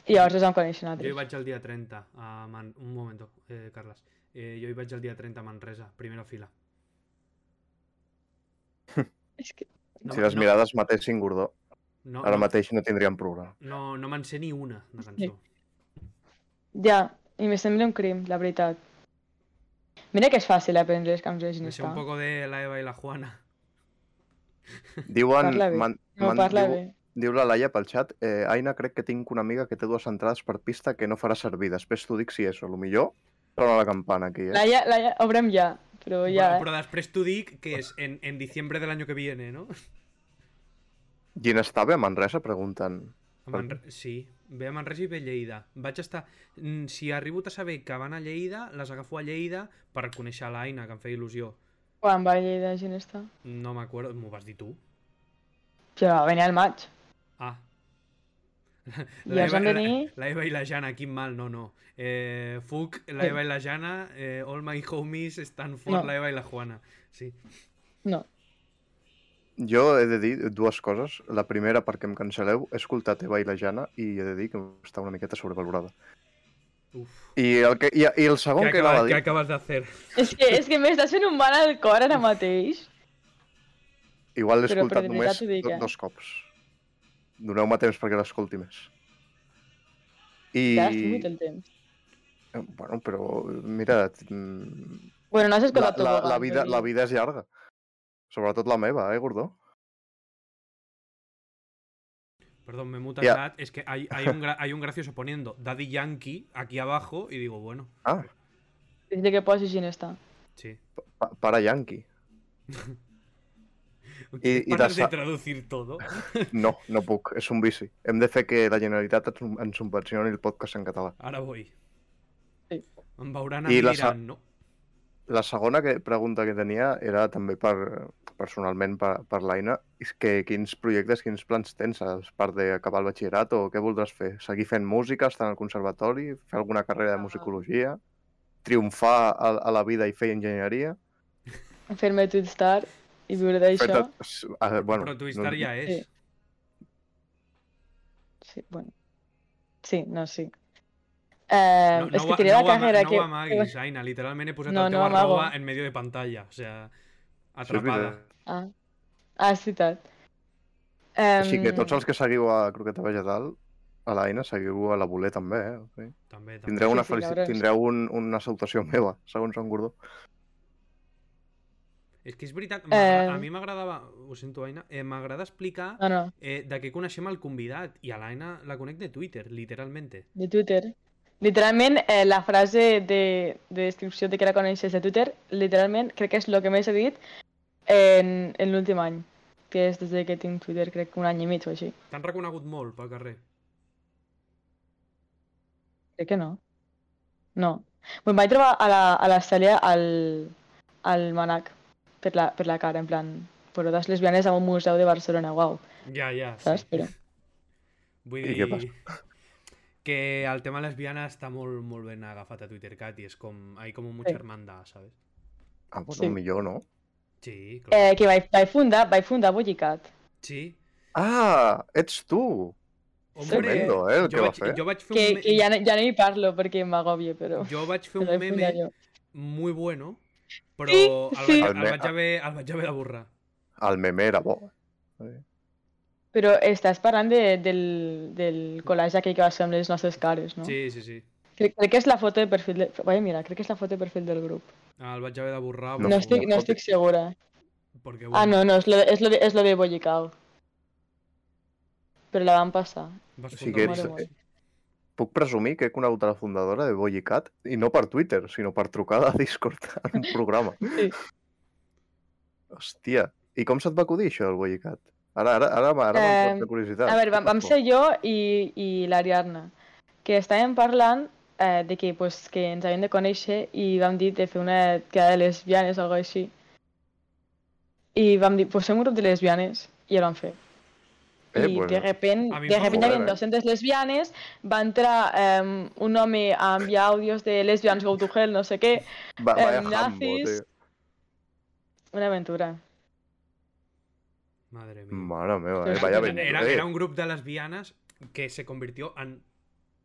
Speaker 3: I llavors ens vam conèixer
Speaker 1: Jo hi
Speaker 3: nosaltres.
Speaker 1: vaig el dia 30 a Man... Un moment, eh, Carles. Eh, jo hi vaig el dia 30 a Manresa, primera fila.
Speaker 3: És que...
Speaker 1: No,
Speaker 2: Si les
Speaker 1: no,
Speaker 2: mirades matessin Gordó,
Speaker 1: no,
Speaker 2: ara
Speaker 1: no,
Speaker 2: mateix no tindríem programa.
Speaker 1: No, no me'n sé ni una, de cançó.
Speaker 3: Ja, i me sembla un crim, la veritat. Mira que és fàcil aprendre les cançons
Speaker 1: Me
Speaker 3: de
Speaker 1: Em sé
Speaker 3: Ginestà.
Speaker 1: un poco de la Eva y la Juana.
Speaker 2: Diuen...
Speaker 3: Parla bé.
Speaker 2: man-
Speaker 3: No
Speaker 2: man-
Speaker 3: parla
Speaker 2: diu,
Speaker 3: bé.
Speaker 2: diu la Laia pel xat, eh, Aina, crec que tinc una amiga que té dues entrades per pista que no farà servir. Després t'ho dic si és, o millor sona la campana aquí, eh?
Speaker 3: Laia, Laia, obrem ja, però Pues ja, eh.
Speaker 1: Bueno, però després t'ho dic, que és en, en diciembre del año que viene, no?
Speaker 2: Gin està bé a Manresa, pregunten.
Speaker 1: A Manre... Sí, ve a Manresa i ve a Lleida. Vaig estar... Mm, Si arribo a saber que van a Lleida, les agafo a Lleida per conèixer l'Aina, que em feia il·lusió.
Speaker 3: eh? Quan va a Lleida gent està?
Speaker 1: No m'acuerdo, m'ho vas dir tu?
Speaker 3: Ja va venir al maig.
Speaker 1: Ah.
Speaker 3: Ja es van
Speaker 1: la-
Speaker 3: venir-
Speaker 1: la Eva i la Jana, quin mal, no, no. Eh, Fuc, la
Speaker 3: Sí.
Speaker 1: Eva i la Jana, eh, All My Homies, Stanford,
Speaker 3: No.
Speaker 1: la Eva i la Juana. Sí.
Speaker 3: No.
Speaker 2: Jo he de dir dues coses. La primera, perquè em cancel·leu, he escoltat Eva i la Jana i he de dir que està una miqueta sobrevalorada.
Speaker 1: Uf.
Speaker 2: I el, que, i, i el segon
Speaker 1: ¿Qué
Speaker 2: que anava
Speaker 1: acabas,
Speaker 2: a
Speaker 1: ¿Qué
Speaker 2: dir...
Speaker 1: acabas de hacer?
Speaker 3: És que, és que m'estàs fent un mal al cor ara mateix.
Speaker 2: Igual l'he
Speaker 3: Però,
Speaker 2: escoltat
Speaker 3: però de
Speaker 2: només
Speaker 3: veritat t'ho dic,
Speaker 2: do-
Speaker 3: eh?
Speaker 2: dos cops. Doneu-me temps perquè l'escolti més. I...
Speaker 3: I... Ja has tingut el temps.
Speaker 2: Eh, Bueno, però mira, mm,
Speaker 3: Bueno, no has
Speaker 2: la,
Speaker 3: escoltat eh,
Speaker 2: la,
Speaker 3: Tobogán,
Speaker 2: la,
Speaker 3: jo
Speaker 2: vida,
Speaker 3: diria.
Speaker 2: la vida és llarga. Sobretot la meva, eh, Gordó?
Speaker 1: Perdón, me muta
Speaker 2: Ya.
Speaker 1: el chat. Es que hay, hay, un gra- hay un gracioso poniendo Daddy Yankee aquí abajo y digo, bueno,
Speaker 2: Ah,
Speaker 3: Diria que posis gent està.
Speaker 1: sí.
Speaker 2: pa para Yankee.
Speaker 1: ¿Quieres
Speaker 2: y
Speaker 1: parar
Speaker 2: das
Speaker 1: de
Speaker 2: a-
Speaker 1: traducir todo?
Speaker 2: No, no puc, és un vici. Hem de fer que la Generalitat ens ens subvencioni el podcast en català.
Speaker 1: Ahora voy.
Speaker 3: Sí.
Speaker 1: En Baurana
Speaker 2: Y
Speaker 1: me
Speaker 2: la sa-
Speaker 1: dirán, no.
Speaker 2: La segona que, pregunta que tenia era també per personalment per, per l'Aina, és que quins projectes, quins plans tens a part d'acabar el batxillerat o què voldràs fer? Seguir fent música, estar al conservatori, fer alguna carrera
Speaker 3: Ah.
Speaker 2: de musicologia, triomfar a, a la vida i fer enginyeria?
Speaker 3: Fer-me Twitstar i viure d'això.
Speaker 2: Fer-te- s- eh, bueno,
Speaker 1: Pero Twistar
Speaker 2: no-
Speaker 1: ya es.
Speaker 3: Sí. Sí, bueno. Sí, no, sí. Eh,
Speaker 1: No,
Speaker 3: és que
Speaker 1: ho-
Speaker 3: tiré la
Speaker 1: ho ama-
Speaker 3: carrera
Speaker 1: no
Speaker 3: que...
Speaker 1: ho amaguis, Aina. Literalment he posat
Speaker 3: pues No,
Speaker 1: el
Speaker 3: no
Speaker 1: teu
Speaker 3: amago.
Speaker 1: arroba en medio de pantalla. O sea,
Speaker 2: Sí, és
Speaker 1: atrapada.
Speaker 2: veritat.
Speaker 3: Ah, ah és veritat.
Speaker 2: Així que
Speaker 3: Em,
Speaker 2: tots els que seguiu a Croqueta Vegetal, a l'Aina, seguiu a la Voler també, eh? Sí.
Speaker 1: També, també.
Speaker 2: Tindreu, una,
Speaker 3: Sí, sí,
Speaker 2: felici...
Speaker 3: cabrons.
Speaker 2: Tindreu un, una salutació meva, segons en Gordó.
Speaker 1: És que és veritat,
Speaker 3: Eh. Ah.
Speaker 1: m'agra- a mi m'agradava, ho sento, Aina, eh, m'agrada explicar
Speaker 3: No, no,
Speaker 1: eh, de què coneixem el convidat i a l'Aina la conec de Twitter, literalment.
Speaker 3: De Twitter. Literalment, eh, la frase de, de descripció de que la coneixes de Twitter, literalment, crec que és el que més he dit en, en l'últim any. Que és des de que tinc Twitter, crec que un any i mig o així.
Speaker 1: T'han reconegut molt pel carrer.
Speaker 3: Crec que no. No. Me'n vaig trobar a la, a la Cèlia al, al Manac per la, per la cara, en plan, porotes lesbianes a un museu de Barcelona, uau,
Speaker 1: Ja, ja,
Speaker 3: saps?
Speaker 1: sí.
Speaker 3: Però,
Speaker 1: Vull
Speaker 2: I
Speaker 1: dir...
Speaker 2: què passa?
Speaker 1: Que el tema lesbiana està molt, molt ben agafat a TwitterCat i és com... Hay como mucha
Speaker 3: Sí.
Speaker 1: hermandad, ¿sabes?
Speaker 2: Ah, bueno,
Speaker 3: Sí.
Speaker 2: millor, no?
Speaker 1: Sí, clar.
Speaker 3: eh, que vaig, vaig fundar, vaig fundar Bullicat.
Speaker 1: Sí.
Speaker 2: Ah, ets tu!
Speaker 1: Hombre,
Speaker 2: Tremendo, eh, el que
Speaker 1: jo,
Speaker 2: va
Speaker 1: vaig,
Speaker 2: fer.
Speaker 1: jo vaig fer un
Speaker 3: Que,
Speaker 1: me-
Speaker 3: que ja, no- ja no hi parlo perquè m'agobia, però...
Speaker 1: jo vaig fer
Speaker 3: però
Speaker 1: un
Speaker 3: he
Speaker 1: meme
Speaker 3: follat jo.
Speaker 1: muy bueno, però
Speaker 3: Sí,
Speaker 1: el,
Speaker 3: sí.
Speaker 1: vaig,
Speaker 2: El
Speaker 1: el,
Speaker 2: me-
Speaker 1: vaig haver, el vaig haver de borrar.
Speaker 2: El meme era bo.
Speaker 3: Però estàs parlant de, del, del col·legi aquell que va ser amb les nostres cares, no?
Speaker 1: Sí, sí, sí.
Speaker 3: Crec, crec que és la foto de perfil de... Vaja, mira, crec que és la foto de perfil del grup.
Speaker 1: El vaig haver de borrar
Speaker 3: No,
Speaker 2: No,
Speaker 3: estic,
Speaker 2: no
Speaker 3: no
Speaker 2: foto.
Speaker 3: estic segura.
Speaker 1: perquè, bueno,
Speaker 3: Ah, no, no, és lo de, és lo de, és lo de Bollicao. Però la van passar.
Speaker 1: vas
Speaker 2: Sí
Speaker 1: fundar
Speaker 2: que ets-
Speaker 1: una cosa.
Speaker 2: Puc presumir que he conegut a la fundadora de Bollicat, i no per Twitter, sinó per trucada a Discord en un programa.
Speaker 3: Sí.
Speaker 2: Hòstia, i com se't va acudir això del Bollicat? Ara, ara, ara, ara, ara
Speaker 3: Eh,
Speaker 2: m'ha de curiositat.
Speaker 3: A veure, vam, vam ser jo i, i l'Ariadna, que estàvem parlant eh, de que, pues, que ens havíem de conèixer i vam dir de fer una quedada de lesbianes o alguna així. I vam dir, pues fem un grup de lesbianes, i el vam fer.
Speaker 2: Eh,
Speaker 3: I
Speaker 2: pues,
Speaker 3: de repent,
Speaker 1: a mi em
Speaker 3: de
Speaker 1: fa
Speaker 3: repent hi
Speaker 2: molt bé,
Speaker 3: havia
Speaker 2: eh?
Speaker 3: 200 lesbianes, va entrar eh, un home a enviar àudios de lesbians go to hell, no sé què,
Speaker 2: va, vaya
Speaker 3: eh,
Speaker 2: jambo,
Speaker 3: nazis.
Speaker 2: tio.
Speaker 3: una aventura.
Speaker 1: Madre mía.
Speaker 2: Mare meva, eh?
Speaker 3: Sí,
Speaker 2: Vaya
Speaker 3: sí,
Speaker 2: ben...
Speaker 1: era,
Speaker 2: eh,
Speaker 1: era un grupo de lesbianas que se convirtió en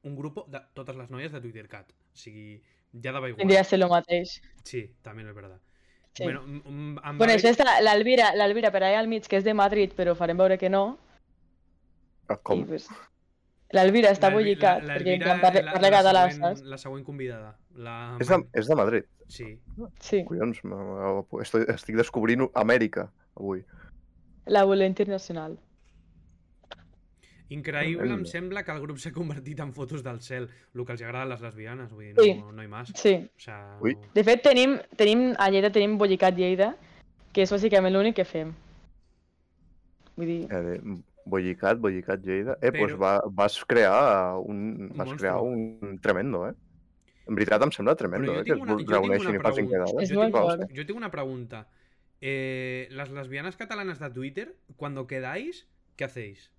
Speaker 1: un grupo de todas las noies de Twitter Cat. O sigui, ja daba igual.
Speaker 3: Tindria de ser el mateix.
Speaker 1: Sí, también es verdad.
Speaker 3: Sí.
Speaker 1: Bueno, m- m- em va
Speaker 3: Bueno,
Speaker 1: bé-
Speaker 3: això està l'Alvira, l'Alvira per allà al mig, que és de Madrid, però farem veure que no.
Speaker 2: Ah, Com?
Speaker 3: I, pues, L'Alvira està
Speaker 1: l'Elvi-
Speaker 3: bollicat,
Speaker 1: la-
Speaker 3: perquè en
Speaker 1: l'Elvira
Speaker 3: plan parla,
Speaker 1: és
Speaker 3: parla català,
Speaker 1: següent-
Speaker 3: saps?
Speaker 1: La següent convidada. La...
Speaker 2: És de, és de Madrid.
Speaker 1: Sí.
Speaker 3: Sí,
Speaker 2: Collons, me- me- estoy, estic descobrint Amèrica avui.
Speaker 3: la voler internacional.
Speaker 1: Increïble, em
Speaker 2: Tremendo.
Speaker 1: sembla que el grup s'ha convertit en fotos del cel, el que els agrada a les lesbianes, vull dir,
Speaker 3: Sí.
Speaker 1: no, no hi més.
Speaker 3: Sí.
Speaker 1: O sea,
Speaker 2: Ui.
Speaker 1: no-
Speaker 3: De fet, tenim, tenim a Lleida tenim bollicat Lleida, que és bàsicament l'únic que fem. Vull dir,
Speaker 2: Eh, Bollicat, Bollicat Lleida. Eh,
Speaker 1: Però-
Speaker 2: doncs va, vas crear un, vas
Speaker 1: monstru.
Speaker 2: crear un tremendo, eh? En veritat em sembla tremendo,
Speaker 1: Però jo
Speaker 2: eh? Que
Speaker 1: tinc
Speaker 2: es
Speaker 1: una- jo tinc
Speaker 2: reuneixin
Speaker 1: una
Speaker 2: i facin
Speaker 1: pregunta.
Speaker 2: quedades.
Speaker 3: És molt
Speaker 2: Clar,
Speaker 3: fort.
Speaker 2: hòstia.
Speaker 1: Yo tengo una pregunta. Eh, las lesbianas catalanas de Twitter, cuando quedáis, ¿qué hacéis?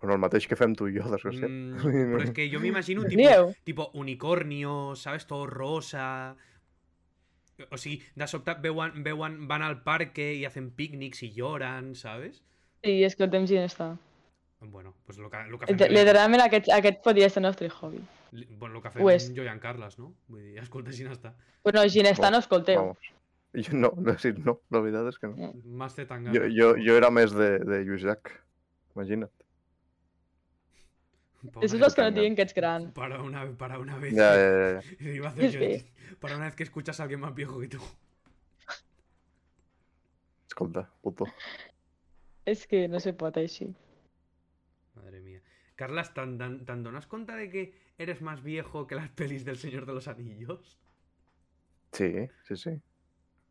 Speaker 2: Bueno, el mateix que fem tu i jo, desgraciat.
Speaker 1: Mm,
Speaker 2: Sí,
Speaker 1: pero
Speaker 2: no.
Speaker 1: es que yo me imagino un tipo,
Speaker 3: rieu.
Speaker 1: tipo unicornio, ¿sabes? Todo rosa. O si de sobte veuen- veuen- van al parque y hacen picnics y lloran, ¿sabes?
Speaker 3: Sí, escoltem gent està.
Speaker 1: Bueno, pues lo que, lo que fem
Speaker 3: Ent-
Speaker 1: jo-
Speaker 3: Literalment aquest, aquest podria ser el nostre hobby.
Speaker 1: li- bueno, lo que
Speaker 3: Ho
Speaker 1: fem
Speaker 3: és.
Speaker 1: jo i en Carles, no? Vull dir, escolta, si n'està.
Speaker 3: Bueno, Ginestà, no escolteu.
Speaker 2: Vamos. Jo no, no, sí, no, la veritat és que no.
Speaker 1: Más de tanga.
Speaker 2: Jo, jo, jo era més de, de Lluís Llach, imagina't.
Speaker 1: Para
Speaker 3: Esos
Speaker 1: una-
Speaker 3: dos que no diuen que ets gran.
Speaker 1: Para una, para una vez.
Speaker 2: Ja, ja, ja, ja.
Speaker 1: Iba a hacer yo,
Speaker 3: Sí.
Speaker 1: Para una vez que escuchas a alguien más viejo que tú.
Speaker 2: Escolta, puto.
Speaker 3: És que no se pot així.
Speaker 1: Madre mía. Carlas, ¿tan, tan, tan donas cuenta de que eres más viejo que las pelis del Señor de los Anillos?
Speaker 2: Sí, sí, sí.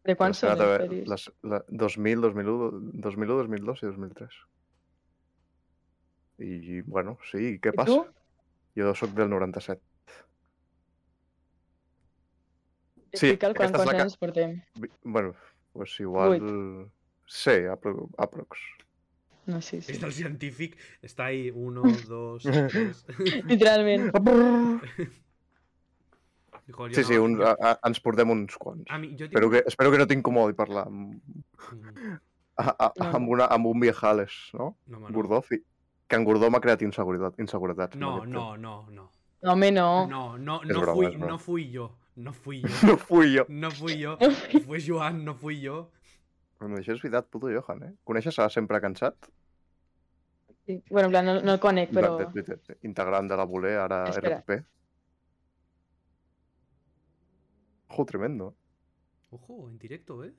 Speaker 3: De quan
Speaker 2: Les he
Speaker 3: són
Speaker 2: anat a
Speaker 3: les
Speaker 2: veure-
Speaker 3: pel·lis?
Speaker 2: Les, la, 2000, 2001, 2001, 2002 i 2003. I, bueno, sí, què
Speaker 3: I
Speaker 2: passa?
Speaker 3: tu?
Speaker 2: Jo sóc del 97. Sí,
Speaker 3: Explica el quan,
Speaker 2: aquesta és la
Speaker 3: quants
Speaker 2: que-
Speaker 3: anys portem.
Speaker 2: Vi- Bueno, pues igual... Sí, apro aprox.
Speaker 3: No sé, sí.
Speaker 1: Está el Scientific, está ahí, uno, dos, tres.
Speaker 3: Literalment.
Speaker 1: Joder, yo
Speaker 2: Sí, sí,
Speaker 1: no-
Speaker 2: un, ah, a, a, ens portem uns quants.
Speaker 1: a mí, yo
Speaker 2: Espero
Speaker 1: tengo...
Speaker 2: que, espero que no t'incomodo parlar amb,
Speaker 1: Mm,
Speaker 2: a, a,
Speaker 3: No,
Speaker 2: amb,
Speaker 3: no.
Speaker 2: una, amb un viejales, no?
Speaker 1: No, no,
Speaker 2: Gordó, fi... que en Gordó m'ha creat inseguretat, inseguretat.
Speaker 1: no, no, no, no.
Speaker 3: No, home, no.
Speaker 1: No, no,
Speaker 2: Es
Speaker 1: no
Speaker 2: broma,
Speaker 1: fui,
Speaker 2: es broma.
Speaker 1: no fui yo. No fui yo.
Speaker 2: No fui jo.
Speaker 1: No fui yo.
Speaker 3: No fui-
Speaker 1: Fue Joan, no fui yo.
Speaker 2: Però això és veritat, puto Johan, eh? Coneixes a Sempre Cansat?
Speaker 3: Sí. Bueno, en plan, no, no el conec, però...
Speaker 2: De Twitter, integrant de la Voler, ara
Speaker 3: Espera.
Speaker 2: RTP. Ojo, tremendo.
Speaker 1: Ojo, en directo, eh.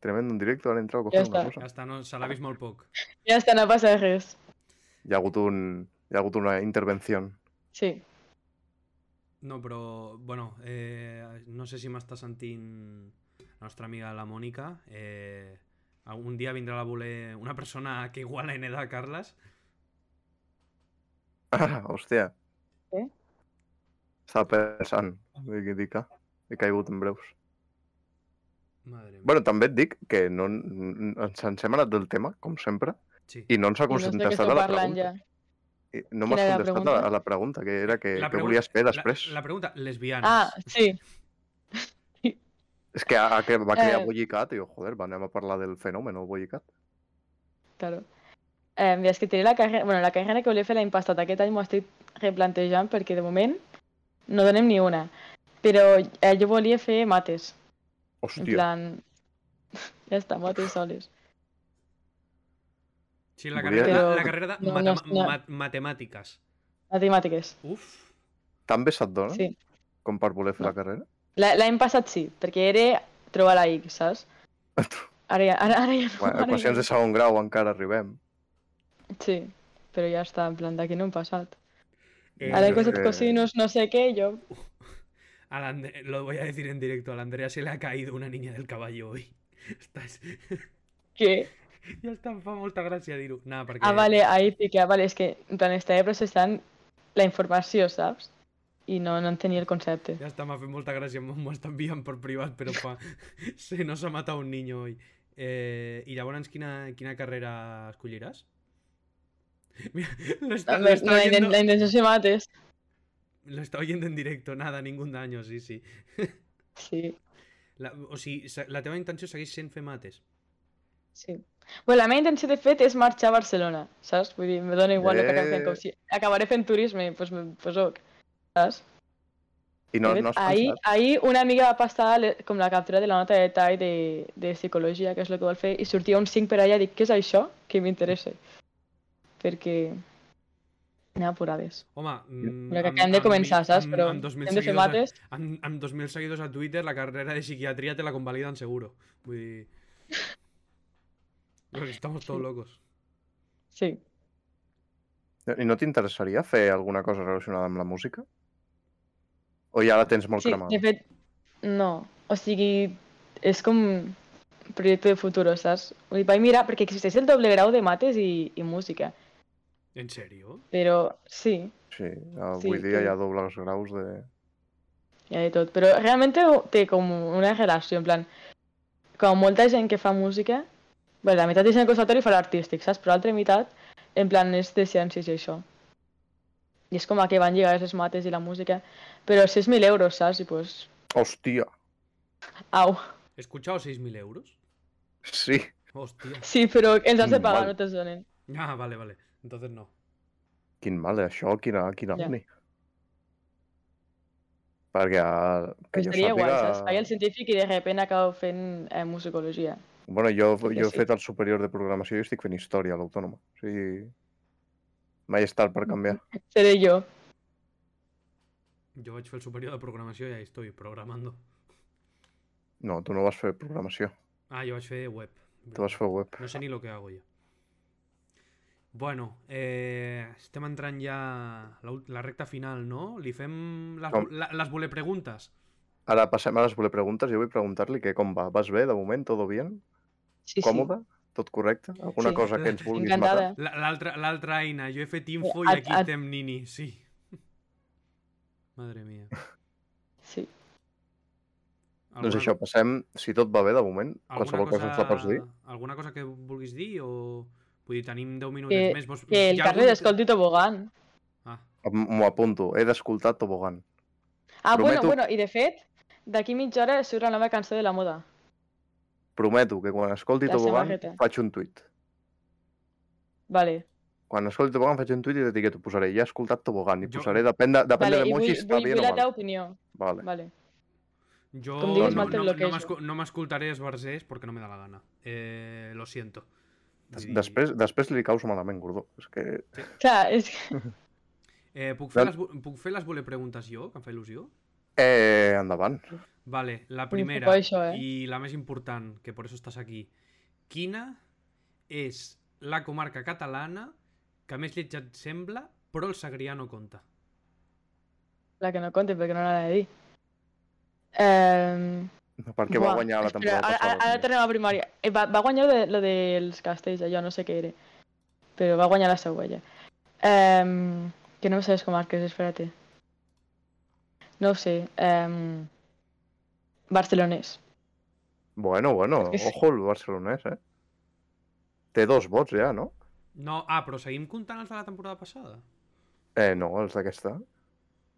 Speaker 2: Tremendo en directo, han entrado a coger
Speaker 3: està.
Speaker 2: una cosa.
Speaker 1: Ja està, no, se l'ha vist molt poc.
Speaker 3: Ja està, no passa res.
Speaker 2: Hi ha hagut, un, hi ha hagut una intervenció.
Speaker 3: Sí.
Speaker 1: No, però, bueno, eh, no sé si m'està sentint la nostra amiga la Mònica. Eh, un dia vindrà a voler una persona que iguala en edat a Carles.
Speaker 2: Ah, hòstia.
Speaker 3: Eh?
Speaker 2: Estava pensant. Dic, dic, ah, he caigut en breus.
Speaker 1: Madre mía.
Speaker 2: bueno, també et dic que no, n- ens ens hem anat del tema, com sempre,
Speaker 1: sí.
Speaker 2: i no ens ha
Speaker 3: I no sé de què
Speaker 2: contestat
Speaker 3: esteu
Speaker 2: a la
Speaker 3: parlant
Speaker 2: pregunta.
Speaker 3: ja.
Speaker 2: I No
Speaker 3: Quina
Speaker 2: m'has
Speaker 3: era la
Speaker 2: contestat a la,
Speaker 3: pregunta?
Speaker 2: a la pregunta, que era que,
Speaker 1: La
Speaker 2: què
Speaker 1: pregunta-
Speaker 2: volies fer
Speaker 1: La,
Speaker 2: després.
Speaker 1: la pregunta, lesbianes.
Speaker 3: Ah, sí.
Speaker 2: És que a, a que va crear
Speaker 3: Eh.
Speaker 2: Bollicat, i jo, joder, va, anem a parlar del fenomen, el Bollicat.
Speaker 3: Claro. Eh, mira, és que tenia la carrera... Bueno, la carrera que volia fer l'any passat, aquest any m'ho estic replantejant perquè de moment no donem ni una. Però eh, jo volia fer mates. En
Speaker 2: Hòstia,
Speaker 3: plan... Ja està, mates soles.
Speaker 1: Sí, la
Speaker 2: Volia-
Speaker 1: carrera, la,
Speaker 3: Però-
Speaker 1: la carrera de
Speaker 3: No,
Speaker 1: matem-
Speaker 3: no, no.
Speaker 1: ma- matemàtiques.
Speaker 3: Matemàtiques,
Speaker 1: Uf.
Speaker 2: també se't dona
Speaker 3: sí.
Speaker 2: com per voler fer
Speaker 3: No.
Speaker 2: la carrera?
Speaker 3: La- L'any passat sí, perquè era trobar la X, saps? Ara ja, ara, ara ja no.
Speaker 2: Bueno,
Speaker 3: ara
Speaker 2: equacions
Speaker 3: ja.
Speaker 2: de segon grau encara arribem.
Speaker 3: no. Sí, però ja està, en plan, d'aquí no hem passat.
Speaker 1: Eh,
Speaker 3: Ara he
Speaker 2: jo
Speaker 3: costat
Speaker 2: crec que-
Speaker 3: cosinus, no sé què, jo...
Speaker 1: al Ande- lo voy a decir en directo. Al Andrea se le ha caído una niña del caballo hoy. Estás...
Speaker 3: Què?
Speaker 1: Ya está, fa molta gràcia dir-ho. Nah, perquè...
Speaker 3: Ah, vale, ahí sí que, vale, és que en plan estava processant la informació, saps? I no, no entenia el concepte.
Speaker 1: Ya está, me hace molta gracia, m'ho estan enviant por privado, pero pa... se nos ha matado un niño hoy. Eh, I llavors quina, quina carrera escolliràs? Mira, lo está, lo,
Speaker 3: La,
Speaker 1: está
Speaker 3: la,
Speaker 1: oyendo,
Speaker 3: la intenció mates.
Speaker 1: lo está oyendo en directo, nada, ningún daño, sí, sí.
Speaker 3: Sí,
Speaker 1: La, o sigui, se- la teva intenció segueix sent fer mates.
Speaker 3: sí. Bueno, la meva intenció, de fet, és marxar a Barcelona, saps? Vull dir, me dona igual el que acabi fent,
Speaker 2: Eh.
Speaker 3: com si acabaré fent turisme, doncs pues, me- pues, ok, saps?
Speaker 2: I no,
Speaker 3: De fet,
Speaker 2: no has
Speaker 3: ahir,
Speaker 2: pensat?
Speaker 3: ahir una amiga va passar le- com la captura de la nota de detall de, de psicologia, que és el que vol fer, i sortia un 5 per allà i dic, què és això? Que m'interessa. Perquè... Anava apurades.
Speaker 1: Home, mm,
Speaker 3: Mira, que
Speaker 1: amb-
Speaker 3: acabem de
Speaker 1: amb
Speaker 3: començar,
Speaker 1: mil-
Speaker 3: saps?
Speaker 1: amb-
Speaker 3: Però
Speaker 1: amb 2.000
Speaker 3: hem de fer
Speaker 1: seguidors eh? a-
Speaker 3: mates.
Speaker 1: Amb, amb 2.000 seguidors a Twitter, la carrera de psiquiatría te la convalidan seguro. Vull dir... Creo que Estamos todos locos.
Speaker 3: Sí.
Speaker 2: I no t'interessaria fer alguna cosa relacionada amb la música? O ja la tens molt
Speaker 3: sí,
Speaker 2: cremada?
Speaker 3: de fet, no. O sigui, és com un projecte de futur, saps? Vull dir, vaig mirar, perquè existeix el doble grau de mates i, i música,
Speaker 1: ¿En serio?
Speaker 3: però sí,
Speaker 2: Sí, avui
Speaker 3: Sí,
Speaker 2: dia
Speaker 3: sí.
Speaker 2: hi ha dobles graus de...
Speaker 3: Hi ha de tot, però realment té, té com una relació, en plan, com molta gent que fa música, bé, la meitat és en el conservatori i fa l'artístic, saps? Però l'altra meitat, en plan, és de ciències i això. I és com a que van lligades les mates i la música, però 6.000 euros, saps? I pues,
Speaker 2: Hòstia,
Speaker 3: au,
Speaker 1: ¿He escuchado 6.000 euros?
Speaker 2: sí.
Speaker 1: Hostia.
Speaker 3: sí, però ens has de pagar,
Speaker 2: Mal.
Speaker 3: no te'ls donen.
Speaker 1: Ah, vale, vale. Entonces no.
Speaker 2: Quin mal, eh, això, quina, quina
Speaker 3: Ja.
Speaker 2: ja. uni. Perquè, eh, que
Speaker 3: Pues
Speaker 2: jo
Speaker 3: seria guai, saps? Faig
Speaker 2: sàpiga...
Speaker 3: el científic i de repente acabo fent eh, musicologia.
Speaker 2: Bueno, jo,
Speaker 3: que
Speaker 2: jo he
Speaker 3: sí.
Speaker 2: fet el superior de programació i estic fent història a l'autònoma. O sigui, mai és tard per canviar.
Speaker 3: Seré jo.
Speaker 1: Yo he hecho el superior de programación y ahí estoy programando.
Speaker 2: No, tu no vas fer programació,
Speaker 1: Ah, yo he hecho web.
Speaker 2: tu vas fer web.
Speaker 1: No sé ni lo que hago yo. Bueno, eh, estem entrant ja la, ult- la recta final, no? Li fem les,
Speaker 2: Com?
Speaker 1: la, les voler preguntes?
Speaker 2: Ara passem a les voler preguntes. Jo vull preguntar-li que com va. Vas bé, de moment, todo bien?
Speaker 3: Sí,
Speaker 2: Còmode? Tot correcte? Alguna
Speaker 3: Sí.
Speaker 2: cosa que ens
Speaker 3: sí.
Speaker 2: vulguis
Speaker 3: Encantada.
Speaker 1: La- L'altra l'altra Aina, jo he fet info i
Speaker 3: Eh, a-
Speaker 1: aquí
Speaker 3: a-
Speaker 1: tem nini, sí. Madre mia.
Speaker 3: Sí.
Speaker 2: matar? Doncs això, passem, si tot va bé, de moment, qualsevol cosa... ens la pots dir.
Speaker 1: Alguna cosa que vulguis dir o... Vull dir, tenim 10 minutets
Speaker 3: Que-
Speaker 1: més. Vols...
Speaker 3: Que el
Speaker 1: hi ha
Speaker 3: Carles
Speaker 1: algun-
Speaker 3: escolti Tobogán.
Speaker 1: Ah,
Speaker 2: M- M'ho apunto. He d'escoltar Tobogán.
Speaker 3: Ah,
Speaker 2: Prometo-
Speaker 3: bueno, bueno, i de fet, d'aquí mitja hora surt la nova cançó de la moda.
Speaker 2: Prometo que quan escolti
Speaker 3: La
Speaker 2: Tobogán
Speaker 3: samarreta.
Speaker 2: faig un tuit.
Speaker 3: Vale.
Speaker 2: Quan escolti Tobogán faig un tuit i t'etiqueto, posaré. Ja he escoltat Tobogán i
Speaker 1: Jo-
Speaker 2: posaré, depèn de, depèn
Speaker 3: Vale,
Speaker 2: de
Speaker 3: i vull,
Speaker 2: l'emoji,
Speaker 3: vull,
Speaker 2: està
Speaker 3: vull,
Speaker 2: bé o
Speaker 3: la
Speaker 2: no
Speaker 3: teva
Speaker 2: val.
Speaker 3: opinió.
Speaker 2: Vale.
Speaker 3: Vale.
Speaker 1: jo
Speaker 3: Com
Speaker 2: diguis,
Speaker 1: no,
Speaker 2: mal te
Speaker 1: no, no,
Speaker 3: bloquejo.
Speaker 1: m'escu- no m'escoltaré esbarzers perquè no me da la gana. Eh, lo siento.
Speaker 2: Des-
Speaker 1: Vull dir,
Speaker 2: Després, després li caus malament, gordó. És que...
Speaker 3: Clar, és que...
Speaker 1: Eh, puc, fer les,
Speaker 2: Doncs-
Speaker 1: vo- puc fer les voler preguntes jo, que em fa il·lusió?
Speaker 2: Eh, endavant.
Speaker 1: Vale, la
Speaker 3: preocupa
Speaker 1: primera
Speaker 3: això, eh?
Speaker 1: y la más importante, que por eso estás aquí. Quina es la comarca catalana que més lletja et sembla, però el Segrià no compta?
Speaker 3: La que no conte, perquè no l'ha de dir. Um...
Speaker 2: Perquè va guanyar la temporada
Speaker 3: ara,
Speaker 2: passada.
Speaker 3: Ara, ara tornem a primària. Eh, Va, va guanyar lo, de, lo dels castells, allò, no sé què era. Però va guanyar la següent. Um, que no em sé les comarques, espérate. No ho sé. Um, barcelonès.
Speaker 2: Bueno, bueno,
Speaker 3: És que sí.
Speaker 2: ojo el barcelonès, eh? Té dos vots ja, no?
Speaker 1: No, ah, però seguim comptant els de la temporada pasada?
Speaker 2: Eh, no, els d'aquesta.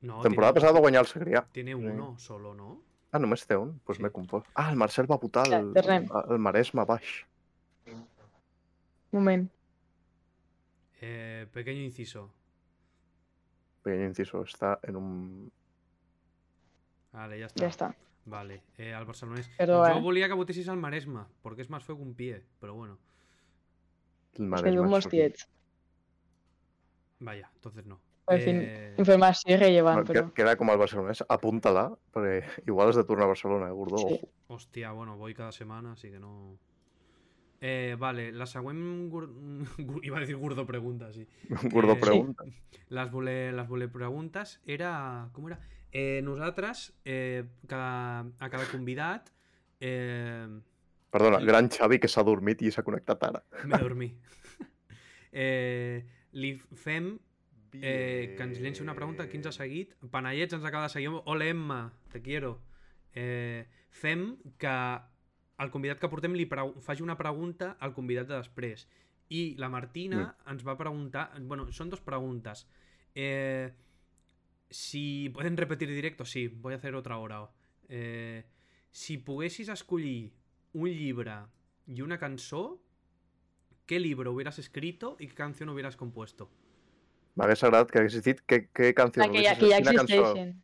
Speaker 1: No,
Speaker 2: temporada
Speaker 1: tiene,
Speaker 2: passada va guanyar el Segrià.
Speaker 1: Tiene
Speaker 2: Sí.
Speaker 1: uno solo, no?
Speaker 2: Ah, només té un? Doncs pues
Speaker 1: Sí.
Speaker 2: m'he confós. Ah, el Marcel va votar
Speaker 3: Ja,
Speaker 2: el,
Speaker 3: tornem.
Speaker 2: el Maresme baix.
Speaker 3: Moment.
Speaker 1: Eh, pequeño inciso.
Speaker 2: Pequeño inciso, está en un...
Speaker 1: Vale, ya está.
Speaker 3: Ya està.
Speaker 1: Vale, eh, al barcelonès.
Speaker 3: Perdó,
Speaker 1: Yo
Speaker 3: eh.
Speaker 1: volía que votessis al Maresma, porque es más feo que un pie, pero bueno.
Speaker 2: El
Speaker 3: Es que
Speaker 2: Maresme,
Speaker 3: diu molts
Speaker 2: sorry.
Speaker 3: tiets.
Speaker 1: Vaya, entonces no.
Speaker 3: En fin,
Speaker 1: Eh,
Speaker 3: Informació irrellevant,
Speaker 2: Bueno, que,
Speaker 3: però...
Speaker 2: que era com el barcelonès, apunta-la, perquè igual has de tornar a Barcelona, eh, Gordó.
Speaker 3: Sí.
Speaker 2: Ojo.
Speaker 1: Hostia, bueno, voy cada semana, así que no. Eh, vale, la següent... gur- gur- Iba a decir gordo pregunta, sí.
Speaker 2: Gordó
Speaker 1: Sí.
Speaker 2: pregunta.
Speaker 1: Les voler, les voler preguntes era... Com era? Eh, nosaltres, eh, cada, a cada convidat, eh,
Speaker 2: Perdona,
Speaker 1: Sí.
Speaker 2: gran Xavi que s'ha dormit i s'ha connectat ara.
Speaker 1: me dormí. eh, li fem eh, que ens llenci una pregunta que ens ha seguit. Panellets ens acaba de seguir. Hola, Emma, te quiero. Eh, fem que el convidat que portem li pregu- faci una pregunta al convidat de després. I la Martina ens va preguntar... Bueno, són dos preguntes. Eh, si pueden repetir directo, sí, voy a hacer otra hora. Eh, si poguessis escollir un llibre i una cançó, ¿qué libro hubieras escrito y qué canción hubieras compuesto?
Speaker 2: M'hagués agradat que haguessis dit què, què canció...
Speaker 3: Ah, que, ja, que ja existeixen.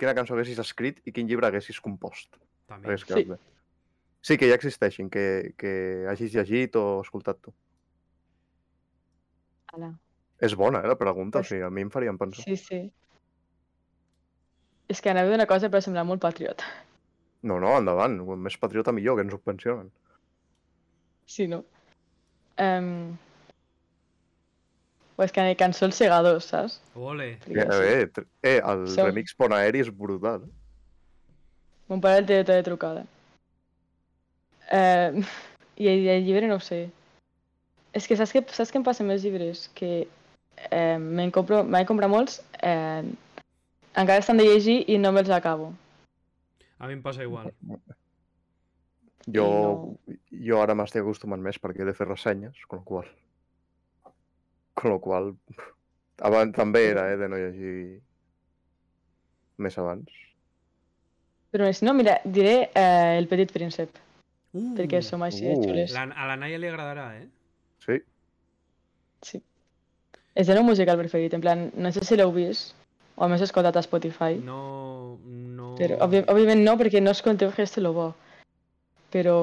Speaker 2: quina cançó haguessis escrit i quin llibre haguessis compost.
Speaker 1: També.
Speaker 2: Hagués quedat
Speaker 3: Sí.
Speaker 2: bé. Sí, que ja existeixin, que, que hagis llegit o escoltat tu.
Speaker 3: Ala.
Speaker 2: És bona, eh, la pregunta,
Speaker 3: Pues-
Speaker 2: o sigui, a mi em farien pensar.
Speaker 3: Sí, sí. És que anava d'una cosa però semblar molt patriota.
Speaker 2: No, no, endavant, com més patriota millor, que ens ho pensionen.
Speaker 3: Sí, no? Um... O és que en el cançó Els Segadors, saps?
Speaker 1: Ole.
Speaker 2: Eh, eh, tr- eh, el
Speaker 3: Som-
Speaker 2: remix Ponaeri és brutal. eh?
Speaker 3: Mon pare el té de tota trucada. Eh, I el, el llibre no ho sé. És que saps, que saps què em passa amb els llibres? Que eh, me'n compro, m'he comprat molts, eh, encara estan de llegir i no me'ls acabo.
Speaker 1: A mi em passa igual.
Speaker 2: Jo, jo ara m'estic acostumant més perquè he de fer ressenyes, con lo qual... Con lo qual... Abans també era, eh, de no llegir més abans.
Speaker 3: Però si no, mira, diré eh, El petit príncep,
Speaker 1: Uh,
Speaker 3: perquè som així de
Speaker 2: Uh.
Speaker 3: xules.
Speaker 1: La- a la Naya li agradarà, eh?
Speaker 2: Sí,
Speaker 3: És el meu musical preferit, en plan, no sé si l'heu vist, o almenys escoltat a Spotify.
Speaker 1: No... no...
Speaker 3: Però, òbvia- òbviament no, perquè no escolteu res de lo bo. Però,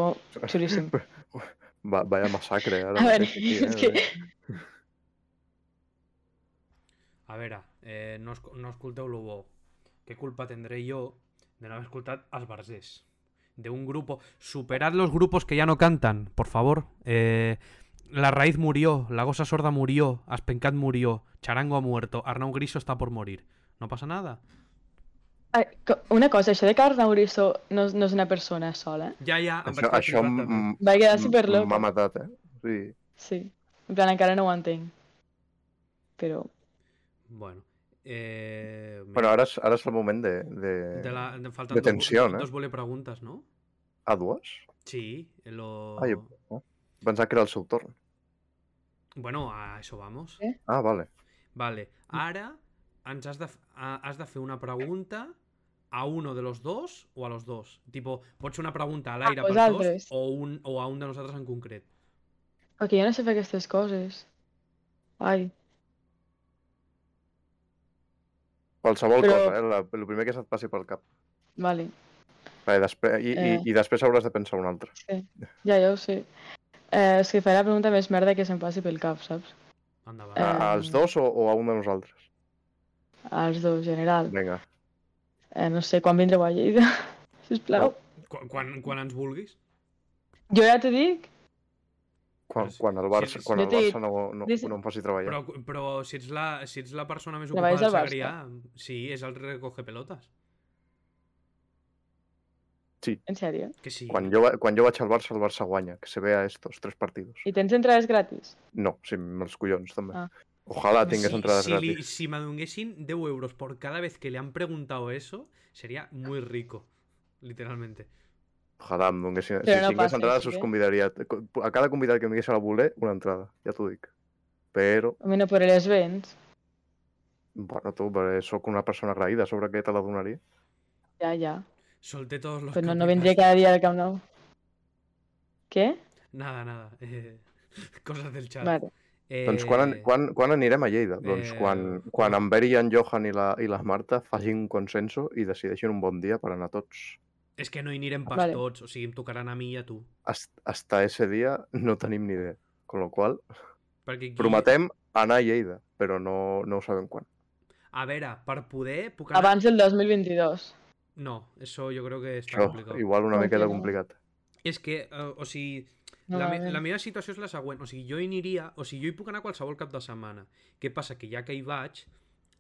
Speaker 3: xulíssim.
Speaker 2: va, vaya massacre. Ara
Speaker 3: A veure,
Speaker 2: mateix eh, aquí,
Speaker 3: és que...
Speaker 1: A veure, eh, no, esco- no escolteu lo bo. Què culpa tendré jo de no haver escoltat els Barsers? De un grupo... Superad los grupos que ya no cantan, por favor. Eh, la Raíz murió, La Gosa Sorda murió, Aspencat murió, Charango ha muerto, Arnau Griso está por morir. No pasa nada.
Speaker 3: Ai, co- Una cosa, això de que Arnau Griso no, és- no és una persona sola. eh?
Speaker 1: Ja, ja, em
Speaker 2: Això,
Speaker 1: vaig
Speaker 2: això
Speaker 1: quedar privat, també.
Speaker 2: m-
Speaker 3: Va quedar
Speaker 2: m-
Speaker 3: superloca.
Speaker 2: m'ha matat, eh? Sí.
Speaker 1: Mm.
Speaker 3: Sí. En plan, encara no ho entenc. Però...
Speaker 1: Bueno. Eh, mira,
Speaker 2: Bueno, ara és, ara és el moment de... de...
Speaker 1: de la, de, faltan
Speaker 2: Eh, de
Speaker 1: dos-
Speaker 2: tensión, eh?
Speaker 1: dos vole preguntas, ¿no?
Speaker 2: A dues?
Speaker 1: Sí, lo...
Speaker 2: Ah, jo- Pensava que era el seu torn.
Speaker 1: Bueno, a eso vamos.
Speaker 3: Eh?
Speaker 2: Ah, vale.
Speaker 1: Vale, ahora has de, f- a- has de fer una pregunta a uno de los dos o a los dos. Tipo, pots fer una pregunta a l'aire
Speaker 3: A
Speaker 1: pels dos
Speaker 3: vosaltres.
Speaker 1: o, un, o a un de nosaltres en concret.
Speaker 3: Perquè jo no sé fer aquestes coses. Ai,
Speaker 2: Qualsevol
Speaker 3: Però-
Speaker 2: cosa, eh? La, el primer que se't passi pel cap.
Speaker 3: vale.
Speaker 2: Vale, després, i,
Speaker 3: Eh.
Speaker 2: i, I després hauràs de pensar un altre.
Speaker 3: Sí. Ja, ja ho sé. Eh, és que faré la pregunta més merda que se'm passi pel cap, saps?
Speaker 1: Endavant.
Speaker 3: Eh.
Speaker 2: A, als dos o, o a un de nosaltres?
Speaker 3: Als dos, general.
Speaker 2: Vinga.
Speaker 3: Eh, no sé, quan vindreu a Lleida, sisplau.
Speaker 1: Quan, quan, quan ens vulguis.
Speaker 3: Jo ja t'ho dic,
Speaker 2: Quan,
Speaker 1: Però si-
Speaker 2: quan el
Speaker 1: si-
Speaker 2: Barça,
Speaker 1: si-
Speaker 2: quan
Speaker 3: Jo
Speaker 2: el
Speaker 3: t'he dit-
Speaker 2: Barça no, no,
Speaker 3: des-
Speaker 2: no em faci treballar.
Speaker 1: Però, però si, ets la, si ets la persona més ocupada
Speaker 3: Treballes
Speaker 1: del
Speaker 3: al Barça?
Speaker 1: Segrià, sí, és el recoge pelotas.
Speaker 3: en sèrio.
Speaker 1: Que sí.
Speaker 2: Quan, jo, va- quan jo vaig al Barça, el Barça guanya, que se vea estos tres partidos.
Speaker 3: I tens entrades gratis.
Speaker 2: No, sí, amb els collons, també.
Speaker 3: Ah.
Speaker 2: Ojalà
Speaker 3: Sí,
Speaker 2: tingués
Speaker 1: si,
Speaker 2: entrades
Speaker 1: si, li-
Speaker 2: gratis.
Speaker 1: si me donguessin 10 euros por cada vez que le han preguntado eso, sería muy rico, literalmente.
Speaker 2: Ojalà em donguessin... Si
Speaker 3: Però no
Speaker 2: tingués
Speaker 3: passa,
Speaker 2: entrades,
Speaker 3: així
Speaker 2: us
Speaker 3: que-
Speaker 2: convidaria... A cada convidat que em vingués a la voler, una entrada, ja t'ho dic. Però,
Speaker 3: A mi no podré les vents.
Speaker 2: bueno, tu, perquè sóc una persona agraïda, sobre què te la donaria?
Speaker 3: Ja, ja.
Speaker 1: Solté todos los
Speaker 3: Pues no, no
Speaker 1: capitán.
Speaker 3: vendré cada día al Camp Nou. ¿Qué?
Speaker 1: Nada, nada. eh, cosas del chat.
Speaker 3: Vale.
Speaker 1: Eh,
Speaker 2: Doncs quan, an- quan, quan anirem a Lleida? Doncs
Speaker 1: eh,
Speaker 2: quan, quan en Beri, en Johan i la, i la Marta facin un consenso i decideixin un bon dia per anar tots.
Speaker 1: És que no hi anirem pas
Speaker 3: Vale.
Speaker 1: tots, o sigui, em tocaran a mi i a tu.
Speaker 2: Hasta, hasta ese dia no tenim ni idea. Con lo qual,
Speaker 1: Perquè aquí...
Speaker 2: prometem anar a Lleida, però no, no ho sabem quan.
Speaker 1: A veure, per poder... Puc anar...
Speaker 3: Abans del 2022.
Speaker 1: No, eso yo creo que està
Speaker 2: Això,
Speaker 1: complicat.
Speaker 2: igual una miqueta
Speaker 3: Complicat.
Speaker 2: complicat.
Speaker 1: És que, eh, o sigui,
Speaker 3: No,
Speaker 1: La,
Speaker 3: la,
Speaker 1: me la meva situació és la següent, o sigui, jo hi aniria, o sigui, jo hi puc anar qualsevol cap de setmana. Què passa? Que ja que hi vaig,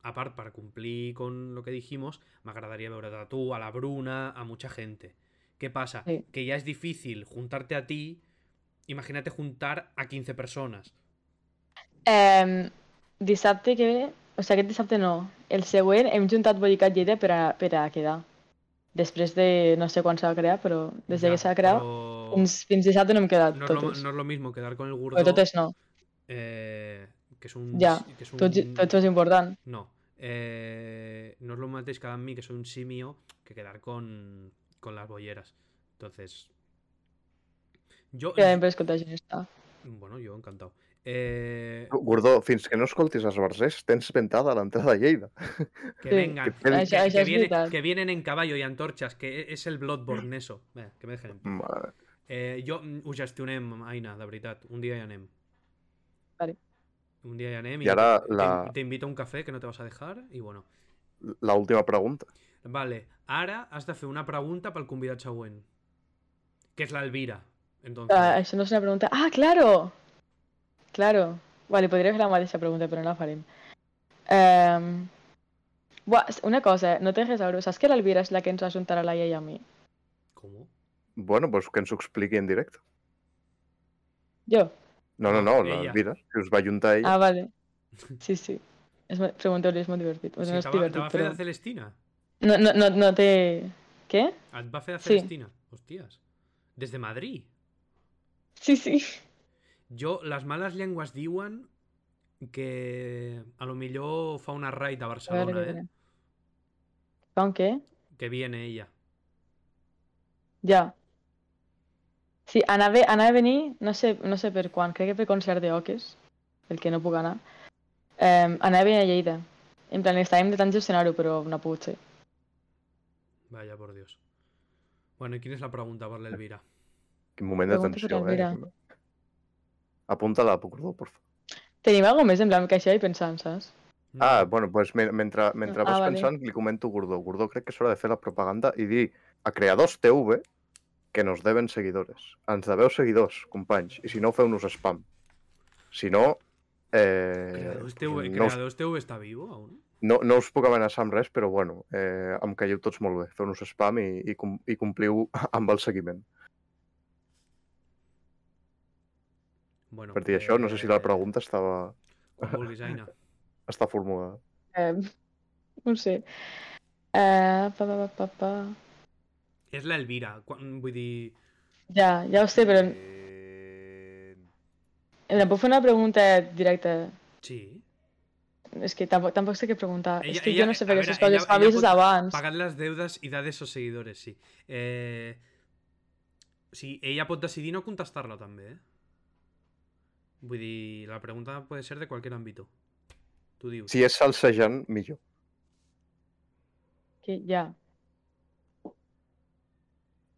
Speaker 1: a part per complir con lo que dijimos, m'agradaria veure't a tu, a la Bruna, a mucha gente. ¿Qué pasa?
Speaker 3: Sí.
Speaker 1: Que ya es difícil juntarte a ti, imagínate juntar a 15 personas.
Speaker 3: Eh, dissabte que ve, o sigui, aquest dissabte no, el següent hem juntat Bollicat Lleida per a, per a quedar. Després de, no sé quan s'ha creat, però des de
Speaker 1: Ya,
Speaker 3: que s'ha creat,
Speaker 1: però
Speaker 3: fins, fins dissabte no hem quedat
Speaker 1: No es, lo,
Speaker 3: totes.
Speaker 1: no es lo mismo quedar con el
Speaker 3: Però
Speaker 1: gordo,
Speaker 3: totes no,
Speaker 1: eh, que es un...
Speaker 3: Ya,
Speaker 1: que es
Speaker 3: tots,
Speaker 1: un-
Speaker 3: tots és important.
Speaker 1: No. eh, no es lo matéis cada mí, que soy un simio, que quedar con, con las bolleras. Entonces. Yo.
Speaker 3: Quedem per escoltar gent està.
Speaker 1: Bueno, yo encantado. Eh,
Speaker 2: Gordó, fins que no escoltis els versers, tens ventada a l'entrada de Lleida.
Speaker 1: que
Speaker 3: Sí.
Speaker 1: vengan.
Speaker 2: Que-
Speaker 1: que-
Speaker 3: Això-
Speaker 1: que
Speaker 3: això és
Speaker 1: viene-
Speaker 3: veritat.
Speaker 1: que vienen en caballo y antorchas, que e-, es el Bloodborne eso. Venga, que me dejen. en paz.
Speaker 2: Mare.
Speaker 1: Eh, jo mm, ho gestionem, Aina, de veritat. Un dia hi anem.
Speaker 3: Vale.
Speaker 1: Em. Un dia hi anem i,
Speaker 2: I ara
Speaker 1: Em te-
Speaker 2: la-
Speaker 1: te invito a un café que no te vas a dejar y bueno.
Speaker 2: L'última pregunta.
Speaker 1: Vale, ara has de fer una pregunta pel convidat següent, que és l'Elvira. Entonces,
Speaker 3: Ah, això no és una pregunta... Ah, claro! Claro. Vale, podria fer la mateixa pregunta, però no la farem. Um... Buah, s- una cosa, no té res a veure. Saps que l'Elvira és la que ens va juntar a la iaia i a mi?
Speaker 1: ¿Cómo?
Speaker 2: Bueno, doncs que ens ho expliqui en directe.
Speaker 3: Jo?
Speaker 2: No, no,
Speaker 1: No,
Speaker 2: no, la
Speaker 1: ella.
Speaker 2: vida. Si us va juntar ella.
Speaker 3: Ah, vale. Sí, sí. És, mo- pregunteu-li, és molt divertit. Bueno, Pues no és
Speaker 1: te, va, te
Speaker 3: divertit,
Speaker 1: va fer
Speaker 3: però...
Speaker 1: de Celestina.
Speaker 3: No, no, no, no té... Què?
Speaker 1: Et va fer de
Speaker 3: Sí.
Speaker 1: Celestina. Hostias. Des de Madrid.
Speaker 3: Sí, sí.
Speaker 1: Jo, les males llengües diuen que a lo millor fa una raid a
Speaker 3: A veure,
Speaker 1: Barcelona,
Speaker 3: què
Speaker 1: eh?
Speaker 3: dirà. Fa un què?
Speaker 1: Que viene ella.
Speaker 3: Ja. Sí, anava, anava a venir, no sé, no sé per quan, crec que per concert de Oques, el que no puc anar. Um, anava a venir a Lleida. En plan, estàvem de tant gestionar-ho, però no ha pogut ser.
Speaker 1: Vaya, por Dios. Bueno, i quina és la pregunta per l'Elvira?
Speaker 2: Quin moment de
Speaker 3: Pregunta per
Speaker 2: tensió, eh?
Speaker 3: Elvira.
Speaker 2: Apunta-la, Gordó, por favor.
Speaker 3: Tenim alguna més en plan que això i pensant, saps?
Speaker 1: No.
Speaker 2: Ah, bueno, doncs men- mentre, mentre
Speaker 3: Ah,
Speaker 2: vas
Speaker 3: vale.
Speaker 2: pensant, li comento a Gordó. Gordó, crec que s'haurà de fer la propaganda i dir a Creadors TV que nos deben seguidores. Ens deveu seguidors, companys, i si no, feu-nos spam. Si no, eh,
Speaker 1: Creadors TV,
Speaker 2: no, us,
Speaker 1: Creadors TV està viu, aún?
Speaker 2: no, no us puc amenaçar amb res, però bueno, eh, em caieu tots molt bé. Feu-nos spam i, i, com, i compliu amb el seguiment.
Speaker 1: Bueno,
Speaker 2: A partir d'això, no sé si la
Speaker 1: eh,
Speaker 2: pregunta estava,
Speaker 1: quan vulguis, Aina.
Speaker 2: està formulada.
Speaker 3: Um, no ho sé. Uh, pa, pa, pa, pa, pa.
Speaker 1: És l'Elvira. Quan, mm, vull dir...
Speaker 3: Ja, ja ho sé, però em em puc fer una pregunta directa.
Speaker 1: Sí.
Speaker 3: És que tampoc, tampoc sé què preguntar.
Speaker 1: Ella-
Speaker 3: és que
Speaker 1: ella-
Speaker 3: jo no sé
Speaker 1: a
Speaker 3: fer aquestes
Speaker 1: veure, ella-
Speaker 3: coses. Ella,
Speaker 1: ella
Speaker 3: avises
Speaker 1: pot
Speaker 3: abans.
Speaker 1: Pagad les deudes i dades als seguidores, sí. Eh... Sí, ella pot decidir no contestar-la també, eh? Vull dir, la pregunta pot ser de qualsevol àmbit. Tu dius.
Speaker 2: Si és salsejant, millor.
Speaker 3: Que ja.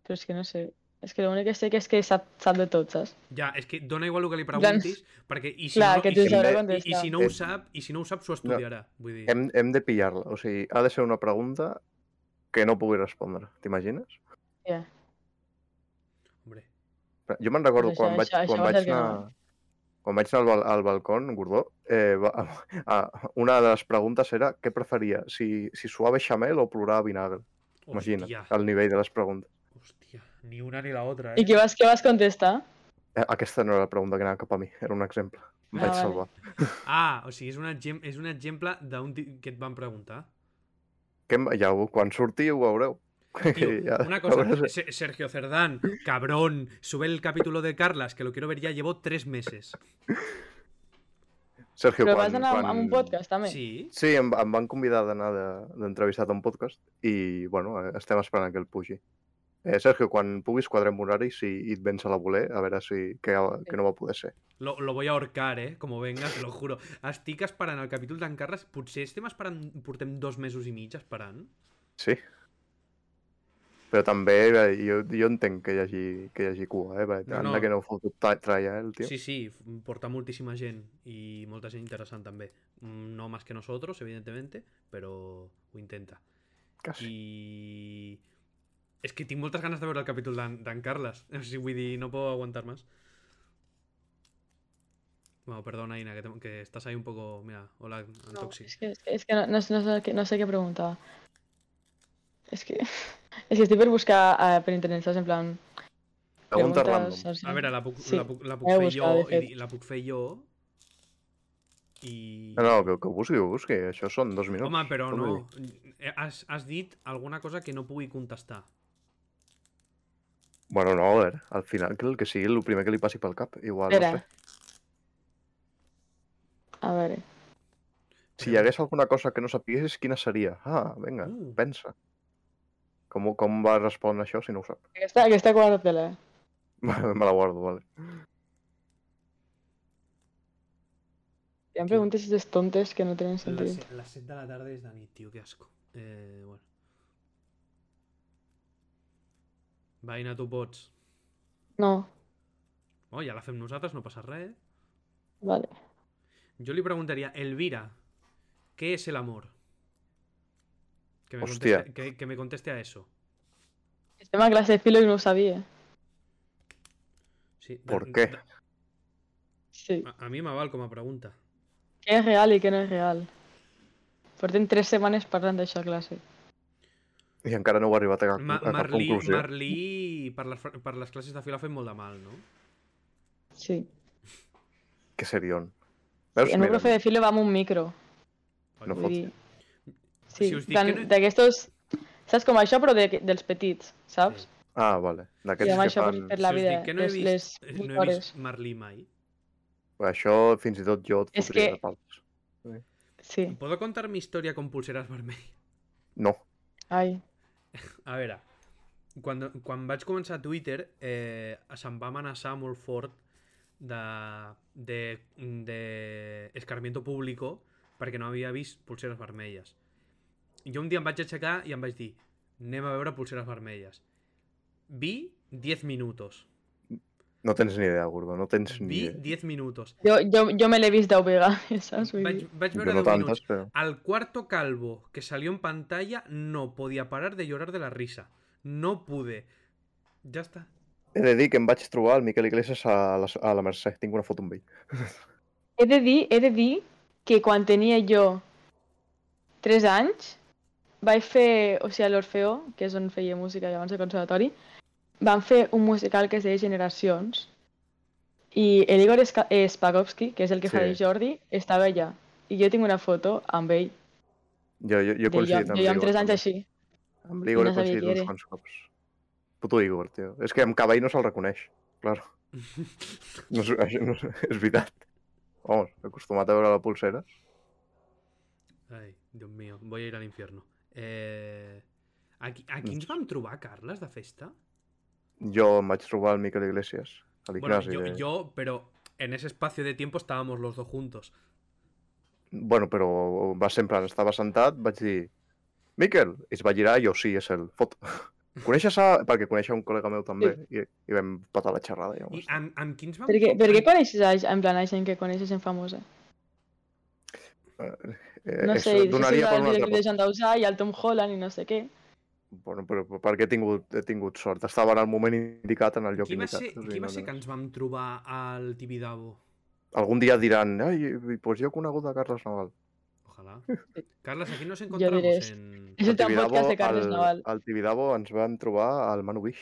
Speaker 3: Però és que no sé. És que l'únic que sé que és que sap, sap de tot, saps?
Speaker 1: Ja, és que dona igual el que li
Speaker 3: Plan-
Speaker 1: preguntis, perquè i si,
Speaker 3: Clar,
Speaker 1: no,
Speaker 3: que
Speaker 1: i,
Speaker 3: tu
Speaker 2: si
Speaker 3: sabrà
Speaker 2: me-
Speaker 1: si, i, i
Speaker 3: contestar.
Speaker 1: si no ho sap, i si no ho sap, s'ho estudiarà. Vull dir,
Speaker 2: Hem, hem de pillar-la. O sigui, ha de ser una pregunta que no pugui respondre. T'imagines?
Speaker 1: hombre.
Speaker 2: Jo me'n recordo
Speaker 3: Doncs
Speaker 2: quan
Speaker 3: això-
Speaker 2: vaig,
Speaker 3: això-
Speaker 2: quan
Speaker 3: això va
Speaker 2: vaig
Speaker 3: ser
Speaker 2: anar...
Speaker 3: genial.
Speaker 2: Quan vaig anar al, bal- al balcó, Gordó, eh, va, ah, una de les preguntes era què preferia, si, si suave xamel o plorar a vinagre. Imagina,
Speaker 1: Hòstia,
Speaker 2: el nivell de les preguntes.
Speaker 1: hòstia, ni una ni la otra,
Speaker 3: I
Speaker 1: eh?
Speaker 3: què vas, què vas contestar?
Speaker 2: Eh, aquesta no era la pregunta que anava cap a mi, era un exemple. Em
Speaker 3: Ah,
Speaker 2: vaig
Speaker 3: vale.
Speaker 2: salvar.
Speaker 1: Ah, o sigui, és un, exem és un exemple d'un ti- que et van preguntar.
Speaker 2: Que, em- ja, ho- quan surti ho veureu.
Speaker 1: Tío,
Speaker 2: Ja,
Speaker 1: una cosa,
Speaker 2: veuràs.
Speaker 1: Se- Sergio Cerdán, cabrón, sube el capítulo de Carlas, que lo quiero ver ya, llevo tres meses.
Speaker 2: Sergio,
Speaker 3: Però
Speaker 2: quan,
Speaker 3: vas anar
Speaker 2: quan...
Speaker 3: amb, amb un podcast, també?
Speaker 1: Sí.
Speaker 2: Sí, em, em van convidar d'anar de- d'entrevistat a un podcast i, bueno, eh, estem esperant que el pugi. Eh, Sergio, quan puguis quadrem horaris i, i et vens a la voler, a veure si que, que no va poder ser.
Speaker 1: Lo, lo voy a ahorcar, eh? Como venga, te lo juro. Estic esperant el capítol d'en Carles. Potser estem esperant... Portem dos mesos i mig esperant.
Speaker 2: Sí. Però també eh, jo, jo entenc que hi hagi, que hi hagi cua, eh? Perquè
Speaker 1: No,
Speaker 2: no,
Speaker 1: no.
Speaker 2: no. que no ho fotut tra- tralla, eh, el tio.
Speaker 1: Sí, sí, porta moltíssima gent i molta gent interessant també. Mm, No más que nosotros, evidentemente, però ho intenta.
Speaker 2: Quasi.
Speaker 1: I... És que tinc moltes ganes de veure el capítol d'en d'en Carles. O sigui, vull dir, no puedo aguantar más. Bueno, perdona, Ina, que, te- que estás ahí un poco... Mira, hola,
Speaker 3: No,
Speaker 1: Antoxi.
Speaker 3: es que, es que no, no, sé- no sé, qué- no sé qué preguntaba. Es que, es que estoy por buscar eh, por internet, ¿sabes? En plan.
Speaker 2: Pregunta
Speaker 3: preguntas
Speaker 2: random.
Speaker 3: así.
Speaker 1: A veure, la puc,
Speaker 3: Sí,
Speaker 1: la puc, la puc
Speaker 3: he
Speaker 1: fer
Speaker 3: buscat,
Speaker 1: jo,
Speaker 3: de
Speaker 1: i,
Speaker 3: fet.
Speaker 1: di- la puc fer jo, i...
Speaker 2: No, no, que, que ho busqui, que ho busqui. Això són dos minuts.
Speaker 1: Home, però
Speaker 2: Què vull
Speaker 1: no. Eh, Has, has dit alguna cosa que no pugui contestar.
Speaker 2: Bueno, no, a veure, al final que el que sigui el primer que li passi pel cap, igual,
Speaker 3: Espera.
Speaker 2: no sé.
Speaker 3: A ver.
Speaker 2: Si hi hagués alguna cosa que no sapiguessis, quina seria? Ah, vinga,
Speaker 1: Uh.
Speaker 2: pensa. Com, ho- com va respondre això si no ho sap?
Speaker 3: Que está, que está eh. guárdatela.
Speaker 2: Me la guardo, vale.
Speaker 3: Ya me preguntes estos tontes que no tienen sentido.
Speaker 1: Les, les 7 de la tarda és de nit, tio, que asco. Eh, bueno. Va, Ina, tu pots.
Speaker 3: No,
Speaker 1: Oh, ja la fem nosaltres, no passa res.
Speaker 3: vale.
Speaker 1: Jo li preguntaria, Elvira, què és el amor? Que me,
Speaker 2: Hòstia.
Speaker 1: conteste, que, que me conteste a eso.
Speaker 3: Este tema clase de filo y no lo sabía.
Speaker 1: Sí, de-
Speaker 2: ¿Por qué?
Speaker 1: de-
Speaker 3: Sí.
Speaker 1: A, a mi me val com a pregunta.
Speaker 3: ¿Qué es real y qué no es real? Porten tres semanas parlando de esa clase.
Speaker 2: I encara no ho he arribat a cap,
Speaker 1: Ma
Speaker 2: a cap
Speaker 1: Marlí,
Speaker 2: conclusió.
Speaker 1: Marlí per, les, per les classes de fila ha fet molt de mal, no?
Speaker 3: Sí.
Speaker 2: Que serion. Veus,
Speaker 3: en un profe de filo vamos un micro.
Speaker 2: No
Speaker 3: Vull
Speaker 2: fots.
Speaker 3: dir... Sí,
Speaker 1: Si us dic
Speaker 3: plan,
Speaker 1: que no-
Speaker 3: d'aquestos... Saps com això, però de, dels petits, saps?
Speaker 1: Sí.
Speaker 2: Ah, vale.
Speaker 3: I
Speaker 2: D'aquests
Speaker 3: amb
Speaker 2: que
Speaker 3: això
Speaker 2: fan...
Speaker 3: per la
Speaker 1: Si us
Speaker 3: vida,
Speaker 1: dic que no he
Speaker 3: les, les
Speaker 1: vist,
Speaker 3: vuit
Speaker 1: no he
Speaker 3: hores.
Speaker 1: vist Marlí mai.
Speaker 2: Això fins i tot jo et
Speaker 3: És
Speaker 2: fotria
Speaker 3: que-
Speaker 2: de pals.
Speaker 3: Sí,
Speaker 1: ¿Puedo contar mi historia con pulseras vermellas?
Speaker 2: No.
Speaker 3: ai,
Speaker 1: A veure, quan, quan vaig començar a Twitter eh, se'm va amenaçar molt fort de, de, de escarmiento público perquè no havia vist pulseres vermelles. Jo un dia em vaig aixecar i em vaig dir anem a veure pulseres vermelles. Vi 10 minutos.
Speaker 2: No tens ni idea, Gordo, no tens ni
Speaker 1: Vi
Speaker 2: idea.
Speaker 1: 10 minutos.
Speaker 3: jo, jo, jo me l'he vist deu vegades, saps? Vull
Speaker 1: Vaig,
Speaker 3: dir,
Speaker 1: vaig
Speaker 2: Jo
Speaker 1: veure
Speaker 2: no
Speaker 1: 10 minuts.
Speaker 2: tantes, però...
Speaker 1: Al cuarto calvo que salió en pantalla no podía parar de llorar de la risa. No pude. Ya está.
Speaker 2: He de dir que em vaig trobar el Miquel Iglesias a la, a la Mercè. Tinc una foto amb ell.
Speaker 3: he de dir, he de dir que quan tenia jo 3 anys, vaig fer, o sigui, a l'Orfeo, que és on feia música i abans de conservatori, van fer un musical que es deia Generacions, i el Igor Esca- eh, Spakovsky, que és el que fa
Speaker 2: Sí.
Speaker 3: de Jordi, estava allà. I jo tinc una foto amb ell.
Speaker 2: Jo, jo, jo he
Speaker 3: de jo,
Speaker 2: coincidit
Speaker 3: jo, jo amb 3 anys
Speaker 2: també.
Speaker 3: així.
Speaker 2: Amb l'Igor
Speaker 3: no
Speaker 2: he
Speaker 3: sabia
Speaker 2: coincidit
Speaker 3: qui
Speaker 2: uns
Speaker 3: era.
Speaker 2: quants cops. Puto Igor, tio. És que amb cavall no se'l reconeix, claro. No, és- això no, és- és veritat. Vamos, acostumat a veure la pulsera.
Speaker 1: Ay, Dios mío, voy a ir al infierno. Eh... A, qui, a qui ens vam trobar, Carles, de festa?
Speaker 2: Jo em vaig trobar el Miquel Iglesias, a l'Ignasi.
Speaker 1: yo,
Speaker 2: Bueno, de...
Speaker 1: yo, pero en ese espacio de tiempo estábamos los dos juntos.
Speaker 2: bueno, però va ser en plan, estava sentat, vaig dir... Miquel! I es va girar i jo, sí, és el fot. Coneixes a... Perquè coneixia un col·lega meu també i, i vam patar la xerrada. Ja,
Speaker 1: I
Speaker 2: I,
Speaker 1: amb, amb qui ens vam...
Speaker 3: Per què, per què
Speaker 1: amb-
Speaker 3: coneixes a, en plan a gent que coneixes en famosa?
Speaker 2: eh,
Speaker 3: No
Speaker 2: és-
Speaker 3: sé, i
Speaker 2: donaria per
Speaker 3: el
Speaker 2: una altra
Speaker 3: videoclip de Jean Dausà i el Tom Holland i no sé què.
Speaker 2: Bueno, però però perquè he tingut, he tingut sort. Estava en el moment indicat, en el lloc
Speaker 1: Qui va
Speaker 2: indicat.
Speaker 1: ser,
Speaker 2: o sigui,
Speaker 1: qui va
Speaker 2: no
Speaker 1: ser
Speaker 2: tens-
Speaker 1: que ens vam trobar al Tibidabo?
Speaker 2: Algun dia diran, ai, doncs pues jo he conegut a Carles Naval.
Speaker 1: Ojalá. Carles, aquí nos
Speaker 3: diré
Speaker 1: encontramos
Speaker 3: esto.
Speaker 1: en...
Speaker 3: És el teu podcast de Carles
Speaker 2: al,
Speaker 3: Naval.
Speaker 2: Al Tibidabo ens vam trobar al Manu Bix.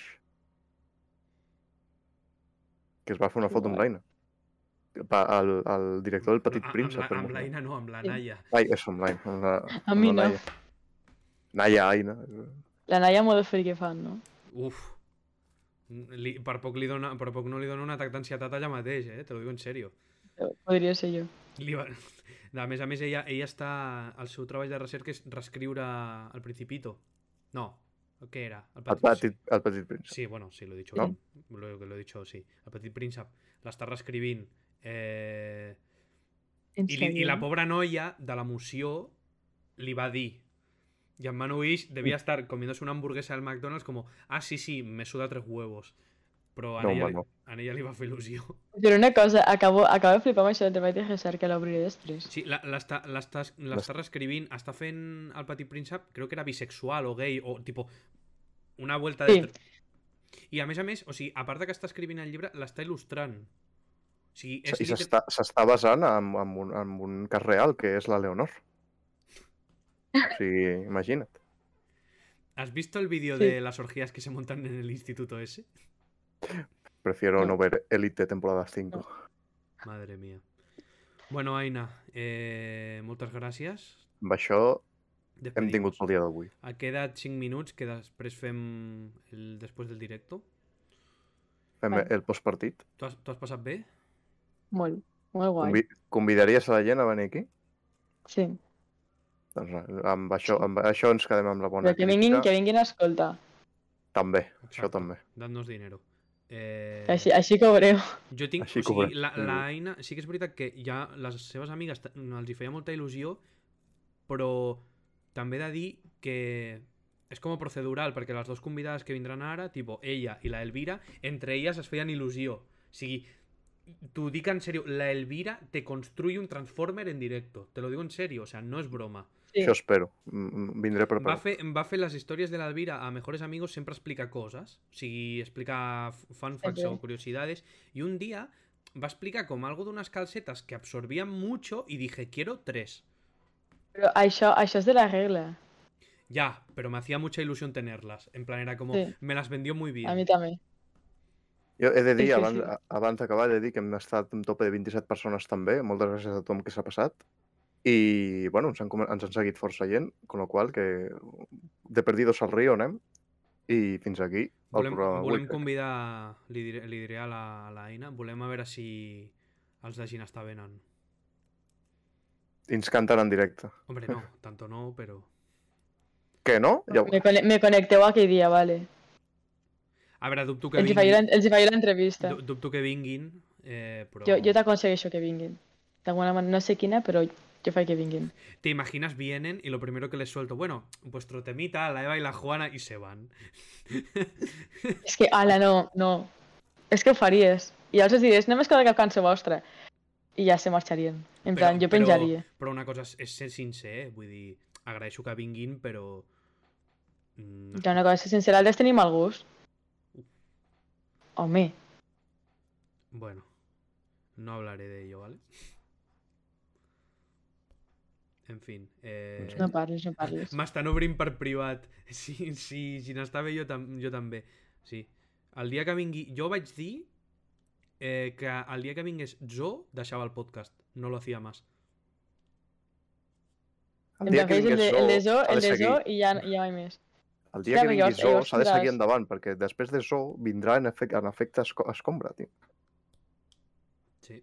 Speaker 2: Que es va fer una foto amb
Speaker 3: Guai.
Speaker 2: l'Aina. Pa- El, el director del Petit
Speaker 1: No, a-
Speaker 2: Príncep.
Speaker 1: Amb, la,
Speaker 2: per
Speaker 1: amb
Speaker 2: exemple.
Speaker 1: l'Aina Ah, no, amb la
Speaker 3: Sí.
Speaker 1: Naya.
Speaker 2: Ai, és amb l'Aina. amb la-
Speaker 3: A
Speaker 2: amb
Speaker 3: mi
Speaker 2: la
Speaker 3: no.
Speaker 2: Naya. Naya, Aina.
Speaker 3: La Naya modo friki fan, no?
Speaker 1: Uf. Li, per, poc li dona, per poc no li dona un atac d'ansietat allà mateix, eh? Te lo digo en serio.
Speaker 3: Podria ser jo.
Speaker 1: Li va... A més a més, ella, ella està... El seu treball de recerca és reescriure el Principito. No, ¿Qué era? El
Speaker 2: El
Speaker 1: Petit,
Speaker 2: petit, el petit príncep.
Speaker 1: Sí, bueno, sí, lo he dicho.
Speaker 2: No.
Speaker 1: Lo, lo he dicho, sí. El Petit Príncep l'està reescrivint eh,
Speaker 3: En
Speaker 1: I, li, I la
Speaker 3: sèrio?
Speaker 1: pobra noia de l'emoció li va dir y en Manu Ish debía estar comiéndose una hamburguesa del McDonald's como, ah, sí, sí, me suda tres huevos. Però a,
Speaker 2: No,
Speaker 1: ella,
Speaker 2: home, no.
Speaker 1: a ella li va fer il·lusió.
Speaker 3: Però una cosa, acabo, acabo de flipar amb això del treball de recerca, l'obriré després.
Speaker 1: Sí, la- l'està l'està- l'està reescrivint, està fent el Petit Príncep, creo que era bisexual o gay, o tipo una vuelta de...
Speaker 3: Sí.
Speaker 1: tr- I a més a més, o sigui, a part de que està escrivint el llibre, l'està il·lustrant. O sigui, és
Speaker 2: I
Speaker 1: liter-
Speaker 2: s'està s'està basant en, en, un, en un cas real, que és la Leonor. O sigui, imagina't.
Speaker 1: ¿Has visto el vídeo
Speaker 3: Sí.
Speaker 1: de las orgías que se montan en el instituto ese?
Speaker 2: Prefiero
Speaker 3: No.
Speaker 2: no, ver Elite temporada 5.
Speaker 1: Madre mía. Bueno, Aina, eh, moltes gràcies.
Speaker 2: Amb això hem
Speaker 1: Despedimos.
Speaker 2: tingut pel dia d'avui.
Speaker 1: Ha quedat 5 minuts que després fem el, després del directo.
Speaker 2: Fem
Speaker 3: Vale.
Speaker 2: el postpartit.
Speaker 1: Tu has, tu has passat bé?
Speaker 3: Molt, molt guai.
Speaker 2: Convi convidaries a la gent a venir aquí?
Speaker 3: Sí.
Speaker 2: Doncs eh, amb això, amb això ens quedem amb la bona
Speaker 3: Però que vinguin, que
Speaker 2: crítica.
Speaker 3: vinguin a escoltar.
Speaker 2: També, això
Speaker 1: Exacte.
Speaker 2: també.
Speaker 1: Dadnos dinero. Eh,
Speaker 3: Així, així cobreu.
Speaker 1: Jo tinc...
Speaker 2: Així
Speaker 1: o sigui,
Speaker 2: cobrem.
Speaker 1: la, la Aina... Sí que és veritat que ja les seves amigues t- els hi feia molta il·lusió, però també he de dir que és com a procedural, perquè les dues convidades que vindran ara, tipo ella i la Elvira, entre elles es feien il·lusió. O sigui, t'ho dic en serio, la Elvira te construye un Transformer en directo. Te lo digo en serio, o sea, no es broma.
Speaker 3: Sí.
Speaker 2: Això espero. Mm, mm, Vindré
Speaker 1: Va
Speaker 2: preparat.
Speaker 1: fer, va fer les històries de l'Elvira a Mejores Amigos sempre explica coses, o sigui, explica f- fun facts
Speaker 3: Ok.
Speaker 1: o curiosidades, i un dia va explicar com algo de unas calcetas que absorbían mucho y dije, quiero tres.
Speaker 3: Però això, això és de la regla.
Speaker 1: Ya, pero me hacía mucha ilusión tenerlas. En plan, era como,
Speaker 3: Sí.
Speaker 1: me las vendió muy
Speaker 3: A mi
Speaker 1: bien.
Speaker 3: també.
Speaker 2: Jo he de dir,
Speaker 3: Sí, sí,
Speaker 2: abans,
Speaker 3: sí.
Speaker 2: a- abans d'acabar, he de dir que hem estat un tope de 27 persones també. Moltes gràcies a tothom que s'ha passat. I, bueno, ens han, comen- ens han seguit força gent, con lo qual, que de perdidos al río anem. I fins aquí el
Speaker 1: Volem,
Speaker 2: programa. d'avui,
Speaker 1: volem
Speaker 2: crec.
Speaker 1: convidar, li diré, li diré a la, a la Aina, volem a veure si els de Ginestà venen.
Speaker 2: I ens canten en directe.
Speaker 1: Hombre, no, tanto no, però...
Speaker 2: Que no? Ja... ho-
Speaker 3: Me, cone me connecteu aquell dia, vale.
Speaker 1: A veure, dubto que
Speaker 3: Els hi faré
Speaker 1: vinguin,
Speaker 3: l'en- els hi faré l'entrevista.
Speaker 1: du- dubto que vinguin eh, però...
Speaker 3: Jo, jo t'aconsegueixo que vinguin. D'alguna manera, no sé quina, però jo faig que vinguin.
Speaker 1: Te imaginas, vienen y lo primero que les suelto, bueno, vuestro temita, la Eva y la Juana, y se van.
Speaker 3: És que, ala, no, no. És que ho faries. I els diries, només cada cap cançó vostra. I ja se marxarien. En
Speaker 1: Però-
Speaker 3: plan, jo
Speaker 1: però-
Speaker 3: penjaria.
Speaker 1: Però una cosa és, és ser sincer, eh? vull dir, agraeixo que vinguin, però... Mm,
Speaker 3: Ja una cosa sincera, el tenim mal gust. Home,
Speaker 1: Bueno, no hablaré de ello, ¿vale? En fin. Eh...
Speaker 3: no parles, no parles.
Speaker 1: M'estan obrint per privat. Si, si, si n'està bé, jo, tam jo també. Sí. El dia que vingui... Jo vaig dir eh, que el dia que vingués Zo deixava el podcast. No lo hacía más.
Speaker 2: El
Speaker 3: Em
Speaker 2: dia que
Speaker 3: refereixo
Speaker 2: vingués
Speaker 3: el de, el de
Speaker 2: Zo,
Speaker 3: Zo,
Speaker 2: ha
Speaker 3: el
Speaker 2: de
Speaker 3: de
Speaker 2: seguir.
Speaker 3: Zo i ja, i ja mai més.
Speaker 2: El dia que
Speaker 3: Ja, però
Speaker 2: vingui
Speaker 3: llavors-
Speaker 2: Zo,
Speaker 3: llavors
Speaker 2: s'ha de seguir
Speaker 3: tindràs-
Speaker 2: endavant, perquè després de Zo vindrà en, efec en efecte esco escombra, tio.
Speaker 1: Sí.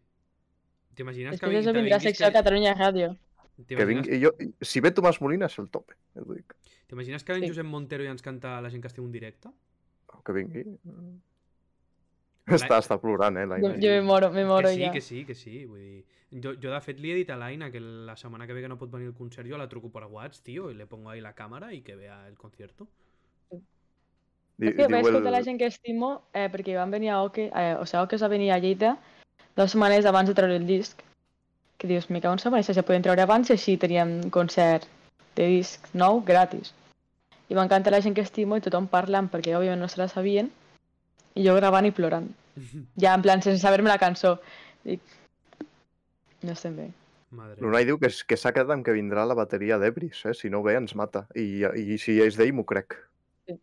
Speaker 1: T'imagines que,
Speaker 3: Després
Speaker 1: vingui-
Speaker 3: Zo
Speaker 1: te
Speaker 3: vindrà
Speaker 1: vinguis
Speaker 3: secció a Catalunya Ràdio.
Speaker 2: Que
Speaker 1: T'imagines
Speaker 2: vingui... Jo... Si ve Tomàs Molina és el tope, ja t'ho dic.
Speaker 1: t'imagines que ven
Speaker 3: Sí.
Speaker 1: Josep Montero i ens canta la gent que estiu un directe?
Speaker 2: Que vingui. Està, està plorant, eh,
Speaker 3: Jo,
Speaker 2: l'Aina.
Speaker 3: jo me moro, me moro
Speaker 1: que sí,
Speaker 3: ja.
Speaker 1: que sí, que sí. Vull dir, jo, jo de fet li he dit a l'Aina que la setmana que ve que no pot venir al concert jo la truco per WhatsApp, tio, i le pongo ahí la càmera i que vea el concierto.
Speaker 2: Di-
Speaker 3: Sí, vaig
Speaker 2: diu el-
Speaker 3: escoltar la gent que estimo eh, perquè van venir a Oque, eh, o sigui, Oque es va venir a Lleida dues setmanes abans de treure el disc. Que dius, me cago en sa mare, això se podien treure abans i així teníem concert de disc nou gratis. I m'encanta la gent que estimo i tothom parlant perquè òbviament no se la sabien i jo gravant i plorant. Ja en plan, sense saber-me la cançó. Dic, no estem bé.
Speaker 1: Madre mía.
Speaker 2: L'Unai diu que, s- que s'ha quedat amb que vindrà la bateria d'Ebris, eh? Si no ve, ens mata. I, i si és d'ell, m'ho crec.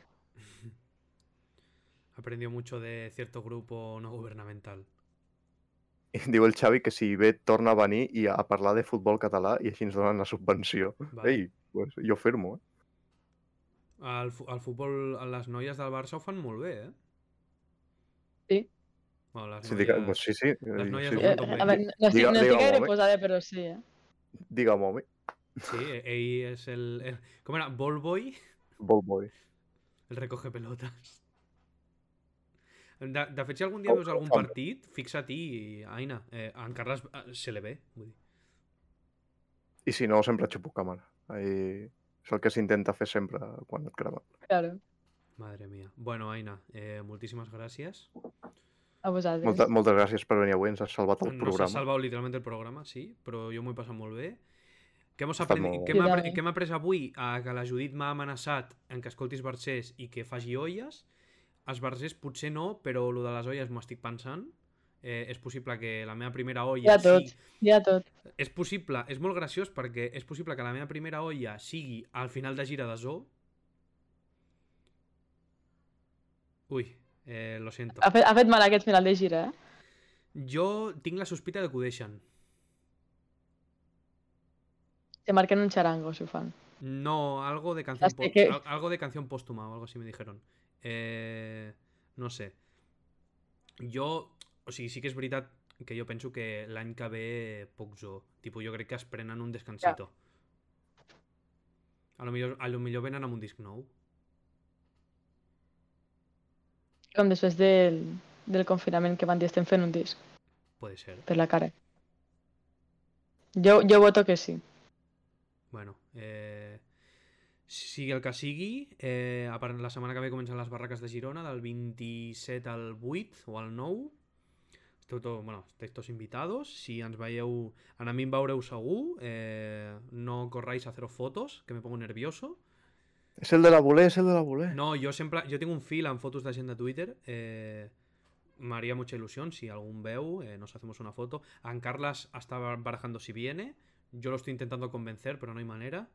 Speaker 1: Aprendió mucho de cierto grupo no gubernamental.
Speaker 2: I diu el Xavi que si ve, torna a venir i a parlar de futbol català i així ens donen la subvenció.
Speaker 1: Vale.
Speaker 2: Ei, pues, jo firmo, eh?
Speaker 1: Al, fu- al futbol, a les noies del Barça ho fan molt bé, eh?
Speaker 3: Sí.
Speaker 1: Bueno, les
Speaker 2: Si dic,
Speaker 1: noies...
Speaker 2: pues sí, sí.
Speaker 1: les noies
Speaker 2: sí,
Speaker 1: ho
Speaker 2: sí.
Speaker 3: Eh,
Speaker 1: fan tot
Speaker 3: a veure, no, estic,
Speaker 2: Digue-
Speaker 3: no estic
Speaker 2: digue-ho,
Speaker 3: gaire
Speaker 2: home.
Speaker 3: posada, però sí, eh?
Speaker 2: Digue'm, home.
Speaker 1: Sí, eh, ell és el... el... Com era? Ball Boy?
Speaker 2: Ball boy.
Speaker 1: El recoge pelotes. De, de fet, si algun dia veus algun partit, fixa-t'hi i, Aina, eh, en Carles eh, se le ve. Vull dir.
Speaker 2: I si no, sempre xupo càmera. Ahí... És el que s'intenta fer sempre quan et cremen.
Speaker 3: Claro,
Speaker 1: Madre mía. Bueno, Aina, eh, moltíssimes gràcies.
Speaker 3: a vosaltres.
Speaker 2: Molta, moltes gràcies per venir avui, ens has salvat
Speaker 1: Nos
Speaker 2: el
Speaker 1: Doncs has
Speaker 2: programa.
Speaker 1: salvado literalmente el programa, sí, pero yo muy pasado muy bien. Que hemos
Speaker 2: Ha estat
Speaker 1: aprendit,
Speaker 2: molt
Speaker 1: que
Speaker 3: bo.
Speaker 1: hem
Speaker 3: Sí,
Speaker 1: apre-
Speaker 3: també.
Speaker 1: que hem après avui a que la Judit m'ha amenaçat en que escoltis versers i que faci olles. Els versers potser no, però lo de les olles m'ho estic pensant. Eh, és possible que la meva primera olla
Speaker 3: Ja tot.
Speaker 1: sigui...
Speaker 3: Ja tot.
Speaker 1: És possible, és molt graciós perquè és possible que la meva primera olla sigui al final de gira de zoo. Ui, eh, lo siento.
Speaker 3: Ha fet, ha fet mal aquest final de gira, eh?
Speaker 1: Jo tinc la sospita de que ho deixen.
Speaker 3: Se marquen un charango si ho fan.
Speaker 1: No, algo de canción
Speaker 3: Así
Speaker 1: po-
Speaker 3: que-
Speaker 1: al- algo de canción póstuma o algo así me dijeron. Eh, no sé. Jo, o sigui, sí que és veritat que jo penso que l'any que ve poc zoo. Tipo, jo crec que es prenen un descansito. A lo millor, a lo millor venen amb un disc nou.
Speaker 3: Com després del, del confinament que van dir estem fent un disc
Speaker 1: Puede ser.
Speaker 3: per la cara. Jo, jo voto que sí.
Speaker 1: Bueno, eh, sigui el que sigui, eh, a part- la setmana que ve comencen les barraques de Girona, del 27 al 8 o al 9. Esteu to, bueno, estáis tots invitados. Si ens veieu, en a mi em veureu segur. Eh, no corráis a haceros fotos, que me pongo nervioso.
Speaker 2: És el de la voler, és el de la voler.
Speaker 1: No, jo sempre... Jo tinc un fil amb fotos de gent de Twitter. Eh, M'haria mucha ilusión si algún veu, eh, nos hacemos una foto. A Carlas está barajando si viene. Yo lo estoy intentando convencer, pero no hay manera.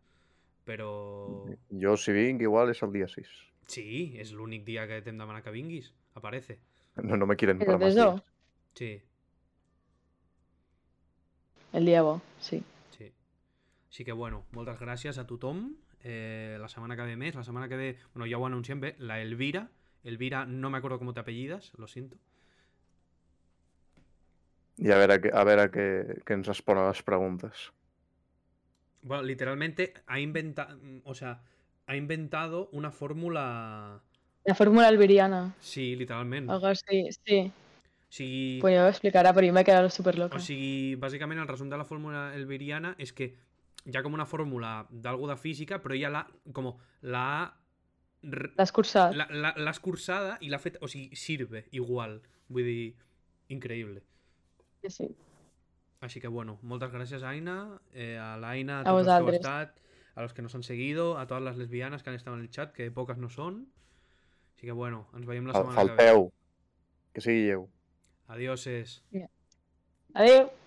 Speaker 1: Pero...
Speaker 2: Jo, si vinc, igual és el dia 6.
Speaker 1: Sí, és l'únic dia que t'hem demanat que vinguis. Aparece.
Speaker 2: No, no me quieren
Speaker 3: Pero
Speaker 2: para más
Speaker 3: de zoo.
Speaker 2: días.
Speaker 1: Sí,
Speaker 3: El dia bo, sí.
Speaker 1: sí. Així que, bueno, moltes gràcies a tothom. Eh, la setmana que ve més, la setmana que ve... Bueno, ja ho anunciem bé, la Elvira. Elvira, no me acuerdo cómo te apellidas, lo siento.
Speaker 2: I a veure, que, a veure que, que ens respon a les preguntes.
Speaker 1: Bueno, literalmente ha inventado... O sea, ha inventado una fórmula...
Speaker 3: La fórmula alberiana.
Speaker 1: Sí, literalment. O
Speaker 3: Algo així, sí.
Speaker 1: sigui...
Speaker 3: Pues ja ho explicarà, però jo em vaig quedar superloca.
Speaker 1: O sigui, bàsicament el resum de la fórmula elviriana és que hi ha com una fórmula d'algo de física, però ella la, com la ha r-
Speaker 3: L'has cursat?
Speaker 1: La- la- L'has cursada i l'ha fet... O sigui, sirve igual. Vull dir, increïble.
Speaker 3: Sí, sí.
Speaker 1: Així que, bueno, moltes gràcies, Aina, eh, a l'Aina, a
Speaker 3: A
Speaker 1: tots els que heu
Speaker 3: vosaltres.
Speaker 1: estat, a los que nos han seguido, a totes les lesbianes que han estat en el chat, que poques no són. Així que, bueno, ens veiem la
Speaker 2: Fal-
Speaker 1: setmana que ve.
Speaker 2: Falteu. Que sigui lleu.
Speaker 1: Adioses.
Speaker 3: Adéu.